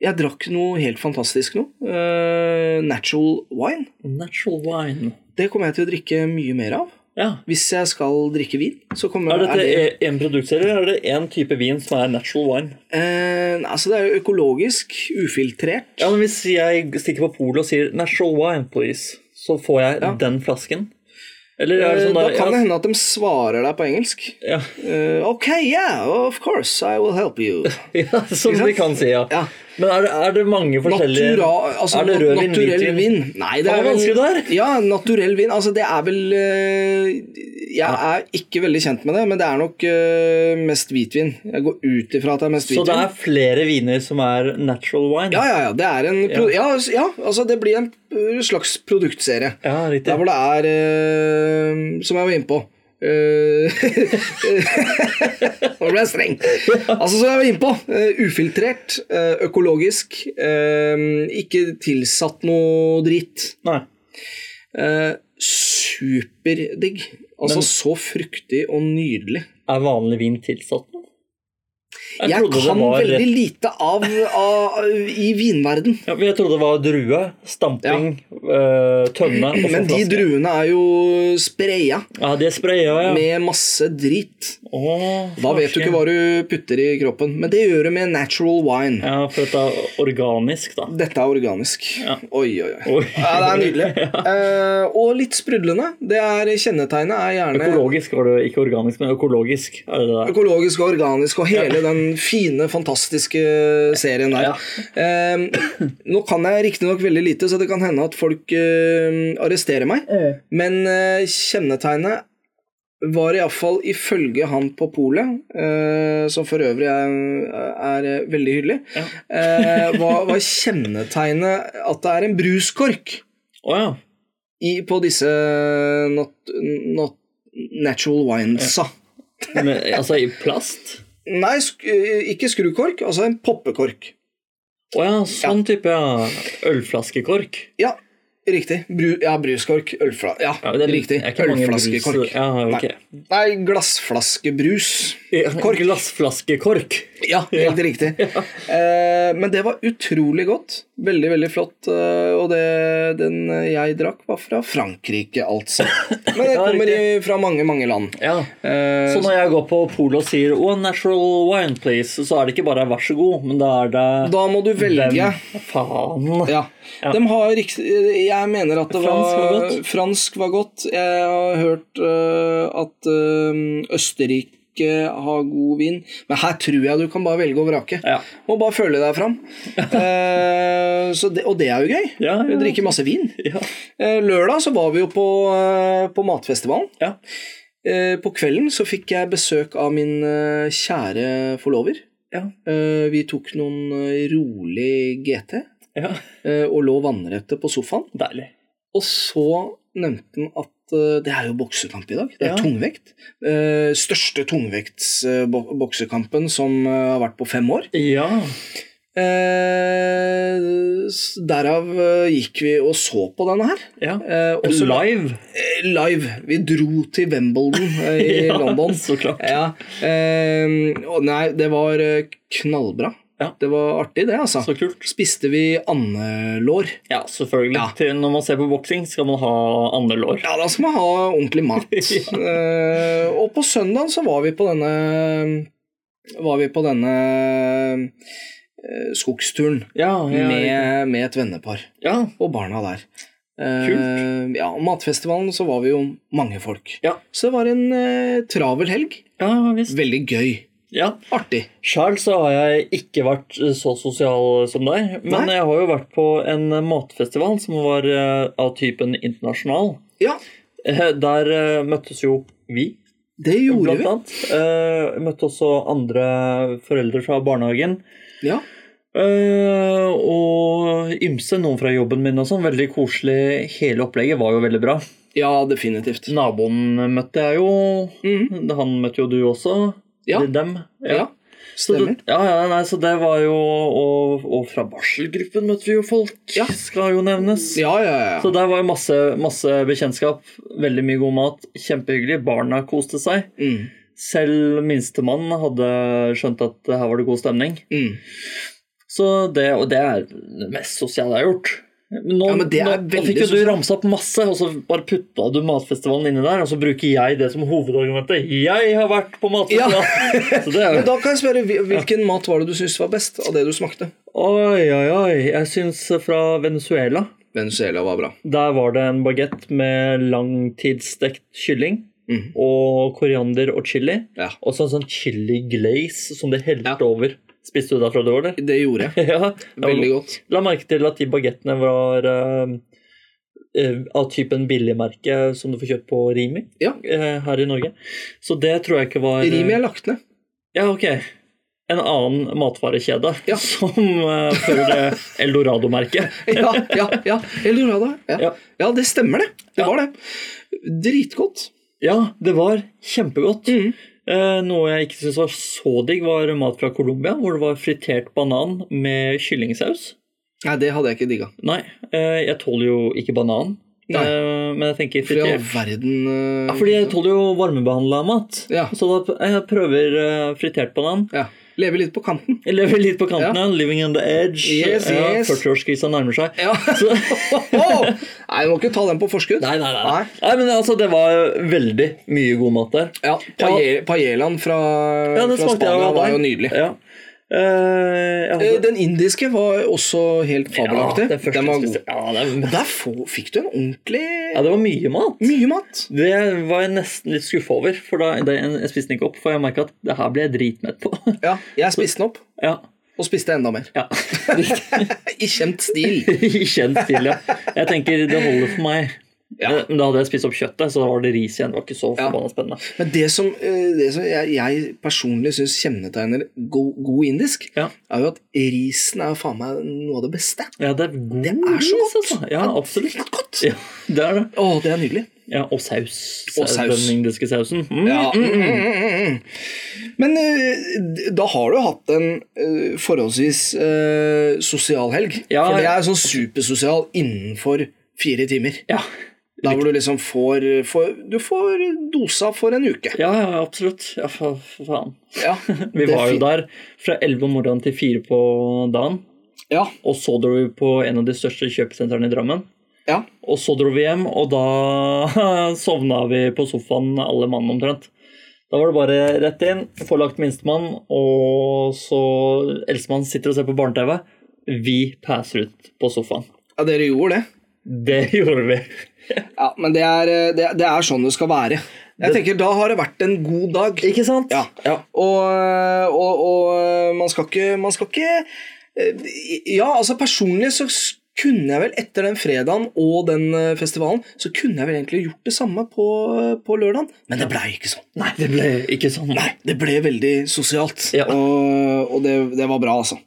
S1: Jeg drakk noe helt fantastisk nå. Eh, natural wine.
S2: Natural wine.
S1: Det kommer jeg til å drikke mye mer av.
S2: Ja.
S1: Hvis jeg skal drikke vin, så kommer
S2: Er dette e-
S1: det,
S2: én produktserie, eller er det én type vin som er natural wine?
S1: eh, altså det er jo økologisk, ufiltrert.
S2: Ja, men Hvis jeg stikker på polet og sier 'natural wine, please', så får jeg
S1: Ja.
S2: den flasken? Eller er det
S1: Eh,
S2: sånn
S1: da
S2: der,
S1: kan det hende at de svarer deg på engelsk.
S2: ja,
S1: Eh, ok, yeah, of course, I will help you.
S2: ja, Som
S1: sant?
S2: de kan si, ja.
S1: Ja.
S2: Men er det, er det mange forskjellige
S1: Natura, altså,
S2: Er det rødvin,
S1: naturell
S2: hvitvin?
S1: vin? Nei, det
S2: Faen,
S1: er
S2: det er vanskelig
S1: vel,
S2: det her.
S1: Ja, naturell vin. Altså, det er vel eh, Jeg er ikke veldig kjent med det, men det er nok eh, mest hvitvin. Jeg går ut ifra at det er mest
S2: Så
S1: hvitvin.
S2: det er flere viner som er natural wine?
S1: Ja, ja, ja. Det er en pro ja. s- ja, altså, det blir en eh, slags produktserie.
S2: ja riktig.
S1: Der hvor det er eh, Som jeg var inne på. eh, Nå ble jeg streng. Altså, som jeg var inne på. eh, ufiltrert, eh, økologisk. eh, ikke tilsatt noe dritt.
S2: Nei.
S1: Eh, superdigg. Altså
S2: Men-
S1: så fruktig og nydelig.
S2: Er vanlig vin tilsatt noe?
S1: Jeg,
S2: trodde det
S1: kan
S2: var-
S1: veldig lite av, av i vinverden.
S2: ja, Jeg trodde det var drue, stamping, eh, tønne og så
S1: Men de
S2: flaske.
S1: druene er jo spraya
S2: Ja, det spraya, ja.
S1: med masse drit.
S2: Åh,
S1: Da vet du ikke hva du putter i kroppen, men det gjør du med natural wine.
S2: Ja, for dette er organisk, da.
S1: Dette er organisk.
S2: Ja.
S1: Oi, oi, oi.
S2: Oi.
S1: Ja, det er nydelig. Eh, og litt sprudlende. Det er kjennetegnet er gjerne
S2: Økologisk var det ikke organisk, men økologisk. Er det det der?
S1: Økologisk og organisk og hele den fine, fantastiske serien der.
S2: Ja.
S1: Ehm, nå kan jeg riktignok veldig lite, så det kan hende at folk ehm, arresterer meg. Men eh, kjennetegnet var iallfall ifølge han på polet, eh, som for øvrig er, er eh, veldig hyggelig,
S2: Ja.
S1: eh, var, var kjennetegnet at det er en bruskork
S2: Å ja.
S1: i, på disse not, not natural winesa.
S2: Men, altså i plast?
S1: Nei, sk eh, ikke skrukork, altså en poppekork.
S2: Å ja, sånn type ja. ølflaskekork.
S1: Ja, riktig. Bru, ja, bruskork. Ølfla ja,
S2: Ja, det er-
S1: riktig.
S2: er ikke mange
S1: Ølflaskekork.
S2: brus- Ja, ok.
S1: Nei, glassflaskebrus. Kork.
S2: Glassflaskekork.
S1: Ja, helt riktig. Eh, men det var utrolig godt. Veldig, veldig flott. eh, og det, den jeg drakk, var fra Frankrike, altså. Men det
S2: Ja, Sånn
S1: kommer i, fra mange, mange land.
S2: Ja.
S1: Eh,
S2: Så når jeg går på polet og sier 'One natural wine, please', så er det ikke bare 'vær så god', men da er det
S1: da må du velge.
S2: Faen.
S1: Ja.
S2: Ja.
S1: De har rikt- Jeg mener at det
S2: Fransk var
S1: var
S2: godt.
S1: Fransk var godt. Jeg har hørt øh, at øh, Østerrike har god vin. Men her tror jeg du kan bare velge og vrake.
S2: Ja.
S1: Må bare føle deg fram. Eh, så det, og det er jo gøy.
S2: Ja, ja.
S1: Du drikker masse vin.
S2: Ja.
S1: Eh, lørdag så var vi jo på, eh, på matfestivalen.
S2: ja.
S1: Eh, på kvelden så fikk jeg besøk av min eh, kjære forlover.
S2: Ja.
S1: Eh, vi tok noen eh, rolig GT
S2: ja.
S1: eh, og lå vannrette på sofaen.
S2: Deilig.
S1: Og så nevnte han at eh, det er jo boksekamp i dag. Det er
S2: Ja.
S1: tungvekt. Eh, Største tungvektsboksekampen som eh, har vært på fem år.
S2: Ja.
S1: Eh, s- Derav eh, gikk vi og så på denne her.
S2: ja.
S1: Eh, og så-
S2: Live.
S1: eh, live. Vi dro til Wimbledon eh, i
S2: Ja,
S1: London.
S2: Så klart.
S1: Ja. eh, og Nei, det var eh, knallbra.
S2: Ja.
S1: Det var artig, det, altså.
S2: Så kult.
S1: Spiste vi andelår.
S2: Ja, selvfølgelig.
S1: Ja.
S2: Til når man ser på boksing, skal man ha andre lår.
S1: Ja, da skal man ha ordentlig mat.
S2: Ja.
S1: Eh, og på søndagen så var vi på denne Var vi på denne eh, skogsturen
S2: Ja, ja,
S1: med, med et vennepar
S2: ja.
S1: og barna der. Eh,
S2: Kult.
S1: ja, og matfestivalen så var vi jo mange folk.
S2: Ja.
S1: Så det var en eh, travel helg.
S2: ja visst.
S1: Veldig gøy.
S2: Ja.
S1: Artig.
S2: Sjøl så har jeg ikke vært eh, så sosial som deg, men
S1: Nei.
S2: jeg har jo vært på en eh, matfestival som var eh, av typen internasjonal.
S1: Ja,
S2: Eh, Der eh, møttes jo vi,
S1: det gjorde
S2: blant annet. Eh, Møtte også andre foreldre fra barnehagen.
S1: vi. Ja.
S2: Eh, Og ymse noen fra jobben min og sånn. Veldig koselig. Hele opplegget var jo veldig bra.
S1: ja, definitivt.
S2: Naboen møtte jeg jo.
S1: Mhm.
S2: Han møtte jo du også.
S1: Ja.
S2: Eller dem.
S1: Ja.
S2: Så,
S1: stemmer.
S2: det- ja, ja, nei, så det var jo Og, og fra barselgruppen møtte vi jo folk,
S1: Ja.
S2: skal jo nevnes.
S1: Ja, ja,
S2: Så
S1: ja.
S2: der var jo masse, masse bekjentskap. Veldig mye god mat. Kjempehyggelig. Barna koste seg.
S1: Mm,
S2: Selv minstemann hadde skjønt at her var det god stemning.
S1: mm.
S2: Så det, og det er det mest sosiale jeg har gjort. Men Nå,
S1: Ja, men det er
S2: nå, nå
S1: veldig
S2: fikk jo du
S1: sosialt.
S2: ramsa opp masse, og så bare putta du matfestivalen inni der, og så bruker jeg det som hovedargumentet. Jeg har vært på matfestival! Så det er
S1: Men
S2: jo
S1: da kan jeg spørre, hvil- hvilken mat var det du syntes var best av det du smakte?
S2: Oi, oi, oi. Jeg syns fra Venezuela
S1: Venezuela var bra.
S2: Der var det en bagett med langtidsstekt kylling
S1: Mhm.
S2: og koriander og chili.
S1: Ja.
S2: Og så en sånn chili glaze som de helte
S1: Ja.
S2: over. Spiste du derfra du var der?
S1: Det gjorde jeg.
S2: ja.
S1: Veldig godt.
S2: La merke til at de bagettene var eh, eh, av typen billigmerke som du får kjøpt på Rimi
S1: Ja.
S2: eh, her i Norge. Så det tror jeg ikke var eh,
S1: Rimi er lagt ned.
S2: Ja, ok. En annen matvarekjede
S1: Ja.
S2: som eh, fører det Eldorado-merket.
S1: Ja, ja, ja. Eldorado. Ja.
S2: Ja.
S1: ja, det stemmer det. Det
S2: Ja.
S1: var det. Dritgodt.
S2: Ja, det var kjempegodt.
S1: Mhm.
S2: Eh, noe jeg ikke syntes var så digg, var mat fra Colombia, hvor det var fritert banan med kyllingsaus.
S1: Nei, det hadde jeg ikke digga.
S2: Nei, eh, jeg tåler jo ikke banan,
S1: Nei.
S2: eh, men jeg tenker
S1: For i all
S2: fritert.
S1: verden eh,
S2: Ja, fordi jeg tåler jo varmebehandla mat,
S1: Ja.
S2: så da eh, jeg prøver eh, fritert banan.
S1: ja. Lever litt på kanten.
S2: Jeg lever litt på kanten, ja.
S1: Ja.
S2: living on the edge.
S1: Yes,
S2: ja,
S1: yes.
S2: 40-årskrisa nærmer seg.
S1: Ja.
S2: Så,
S1: Åh! Nei, du må ikke ta den på forskudd.
S2: nei, nei, nei, nei.
S1: Nei.
S2: Nei, men altså, det var veldig mye god mat der.
S1: Ja, pae- Paellaen fra,
S2: Ja, det
S1: fra
S2: smakte jeg
S1: Spania
S2: av
S1: var
S2: deg.
S1: jo nydelig.
S2: Ja. Eh, jeg
S1: Eh,
S2: hadde-
S1: Den indiske var også helt fabelaktig.
S2: den første
S1: den var
S2: jeg
S1: god.
S2: spiste. Ja, det,
S1: Men der få- fikk du en ordentlig
S2: ja, det var mye mat.
S1: mye mat.
S2: Det var jeg nesten litt skuffa over, for da, det, jeg spiste den ikke opp. For jeg merka at det her ble jeg dritmett på.
S1: Ja, jeg spiste den opp,
S2: ja,
S1: og spiste enda mer.
S2: ja.
S1: I kjent stil.
S2: I kjent stil, ja. Jeg tenker det holder for meg.
S1: Ja.
S2: Men men da hadde jeg spist opp kjøttet, så da var det ris igjen. Det var ikke så
S1: Ja.
S2: forbanna spennende.
S1: Men det som, eh, det som jeg, jeg personlig syns kjennetegner god, god indisk,
S2: Ja.
S1: er jo at risen er jo faen meg noe av det beste.
S2: Ja, det er god
S1: Det er
S2: ris,
S1: så godt.
S2: altså. Ja, absolutt.
S1: Helt godt.
S2: Ja, det er det.
S1: Å, det er nydelig.
S2: Ja, og saus.
S1: Og saus.
S2: Den indiske sausen. Mm,
S1: Ja.
S2: mm, mm.
S1: Men eh, da har du hatt en eh, forholdsvis eh, sosial helg.
S2: Ja.
S1: For det er sånn supersosial innenfor fire timer.
S2: ja.
S1: Der hvor du liksom får, får Du får dosa for en uke.
S2: Ja, ja, absolutt. Ja, for, for faen.
S1: Ja,
S2: Vi
S1: det er
S2: var jo
S1: fint.
S2: der fra 11 om morgenen til 4 på dagen.
S1: Ja,
S2: Og så dro vi på en av de største kjøpesentrene i Drammen.
S1: ja.
S2: Og så dro vi hjem, og da sovna vi på sofaen, alle mann omtrent. Da var det bare rett inn, forlagt minstemann, og så eldstemann sitter og ser på barne-TV. Vi passer ut på sofaen.
S1: ja dere gjorde det.
S2: Det gjorde vi.
S1: Ja, Men det er, eh, det, det er sånn det skal være. Jeg tenker, Da har det vært en god dag.
S2: Ikke sant?
S1: Ja.
S2: ja.
S1: Og, og, og man skal ikke Man skal ikke eh, Ja, altså personlig så s- kunne jeg vel etter den fredagen og den eh, festivalen, så kunne jeg vel egentlig gjort det samme på, på lørdagen. Men det blei ikke sånn.
S2: Nei, det ble ikke sånn.
S1: Nei, det ble veldig sosialt.
S2: Ja.
S1: Og, og det, det var bra, altså.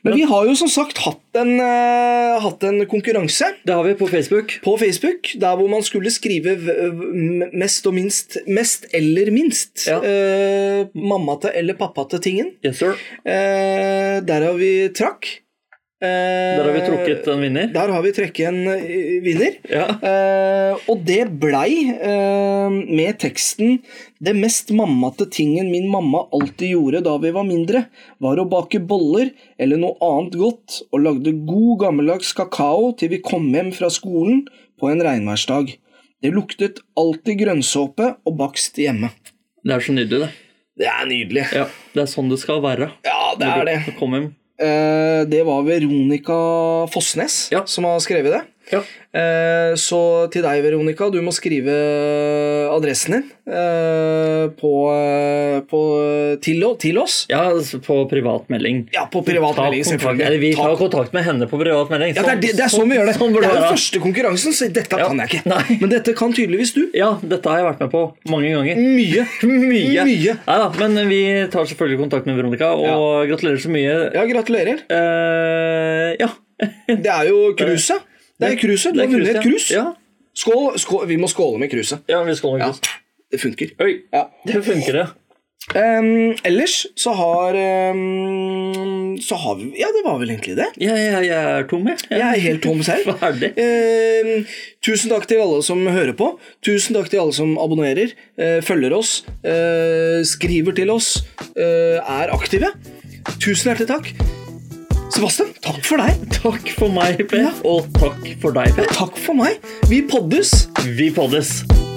S1: Men vi har jo som sagt hatt en, eh, hatt en konkurranse
S2: Det har vi på Facebook.
S1: på Facebook, der hvor man skulle skrive v- v- mest og minst, mest eller minst,
S2: Ja.
S1: eh, mamma til eller pappa til tingen.
S2: Yes, sir.
S1: Eh, der har vi trakk. Eh,
S2: Der har vi trukket en vinner.
S1: Der har vi trekket en eh, vinner.
S2: Ja.
S1: Eh, og det blei eh, med teksten 'Det mest mammate tingen min mamma alltid gjorde da vi var mindre, var å bake boller eller noe annet godt og lagde god gammeldags kakao til vi kom hjem fra skolen på en regnværsdag. Det luktet alltid grønnsåpe og bakst hjemme.
S2: Det er så nydelig, det.
S1: Det er nydelig.
S2: Ja, Det er sånn det skal være.
S1: Ja, det er det.
S2: Kom hjem.
S1: Eh, det var Veronica Fossnes
S2: Ja.
S1: som har skrevet det.
S2: Ja.
S1: Eh, Så til deg, Veronica, du må skrive adressen din eh, på, eh, på, til, til oss.
S2: ja, altså, på privatmelding.
S1: Ja, på privat
S2: Ta
S1: melding,
S2: kontakt- Eller vi
S1: selvfølgelig.
S2: tar
S1: Ta-
S2: kontakt med henne på privat melding.
S1: Ja, det, er, det, det er sånn vi gjør det.
S2: Sånn
S1: det
S2: burde
S1: er
S2: det
S1: den
S2: være.
S1: første konkurransen, så dette
S2: Ja.
S1: kan jeg ikke.
S2: Nei.
S1: Men dette kan tydeligvis du.
S2: Ja, dette har jeg vært med på mange ganger.
S1: Mye.
S2: Mye.
S1: Mye.
S2: Neida, men vi tar selvfølgelig kontakt med Veronica, og gratulerer så mye.
S1: Ja, gratulerer.
S2: Eh, ja.
S1: Det er jo kruset. Det er kruset. Du
S2: Det er
S1: har vunnet et
S2: krus,
S1: krus.
S2: Ja.
S1: Skål, skål. Vi må skåle med kruset.
S2: ja, vi skal ha en
S1: Ja.
S2: krus.
S1: Det funker.
S2: Oi,
S1: Ja.
S2: det funker, det.
S1: Ehm, ellers så har ehm, Så har vi Ja, det var vel egentlig det.
S2: Jeg, jeg, jeg er tom, jeg. jeg.
S1: Jeg er helt tom selv.
S2: er Ferdig.
S1: Ehm, tusen takk til alle som hører på. Tusen takk til alle som abonnerer, eh, følger oss, eh, skriver til oss, eh, er aktive. Tusen hjertelig takk. Sebastian, takk for deg.
S2: Takk for meg, Per,
S1: Ja.
S2: og takk for deg, Per.
S1: Takk for meg. Vi poddes.
S2: Vi poddes.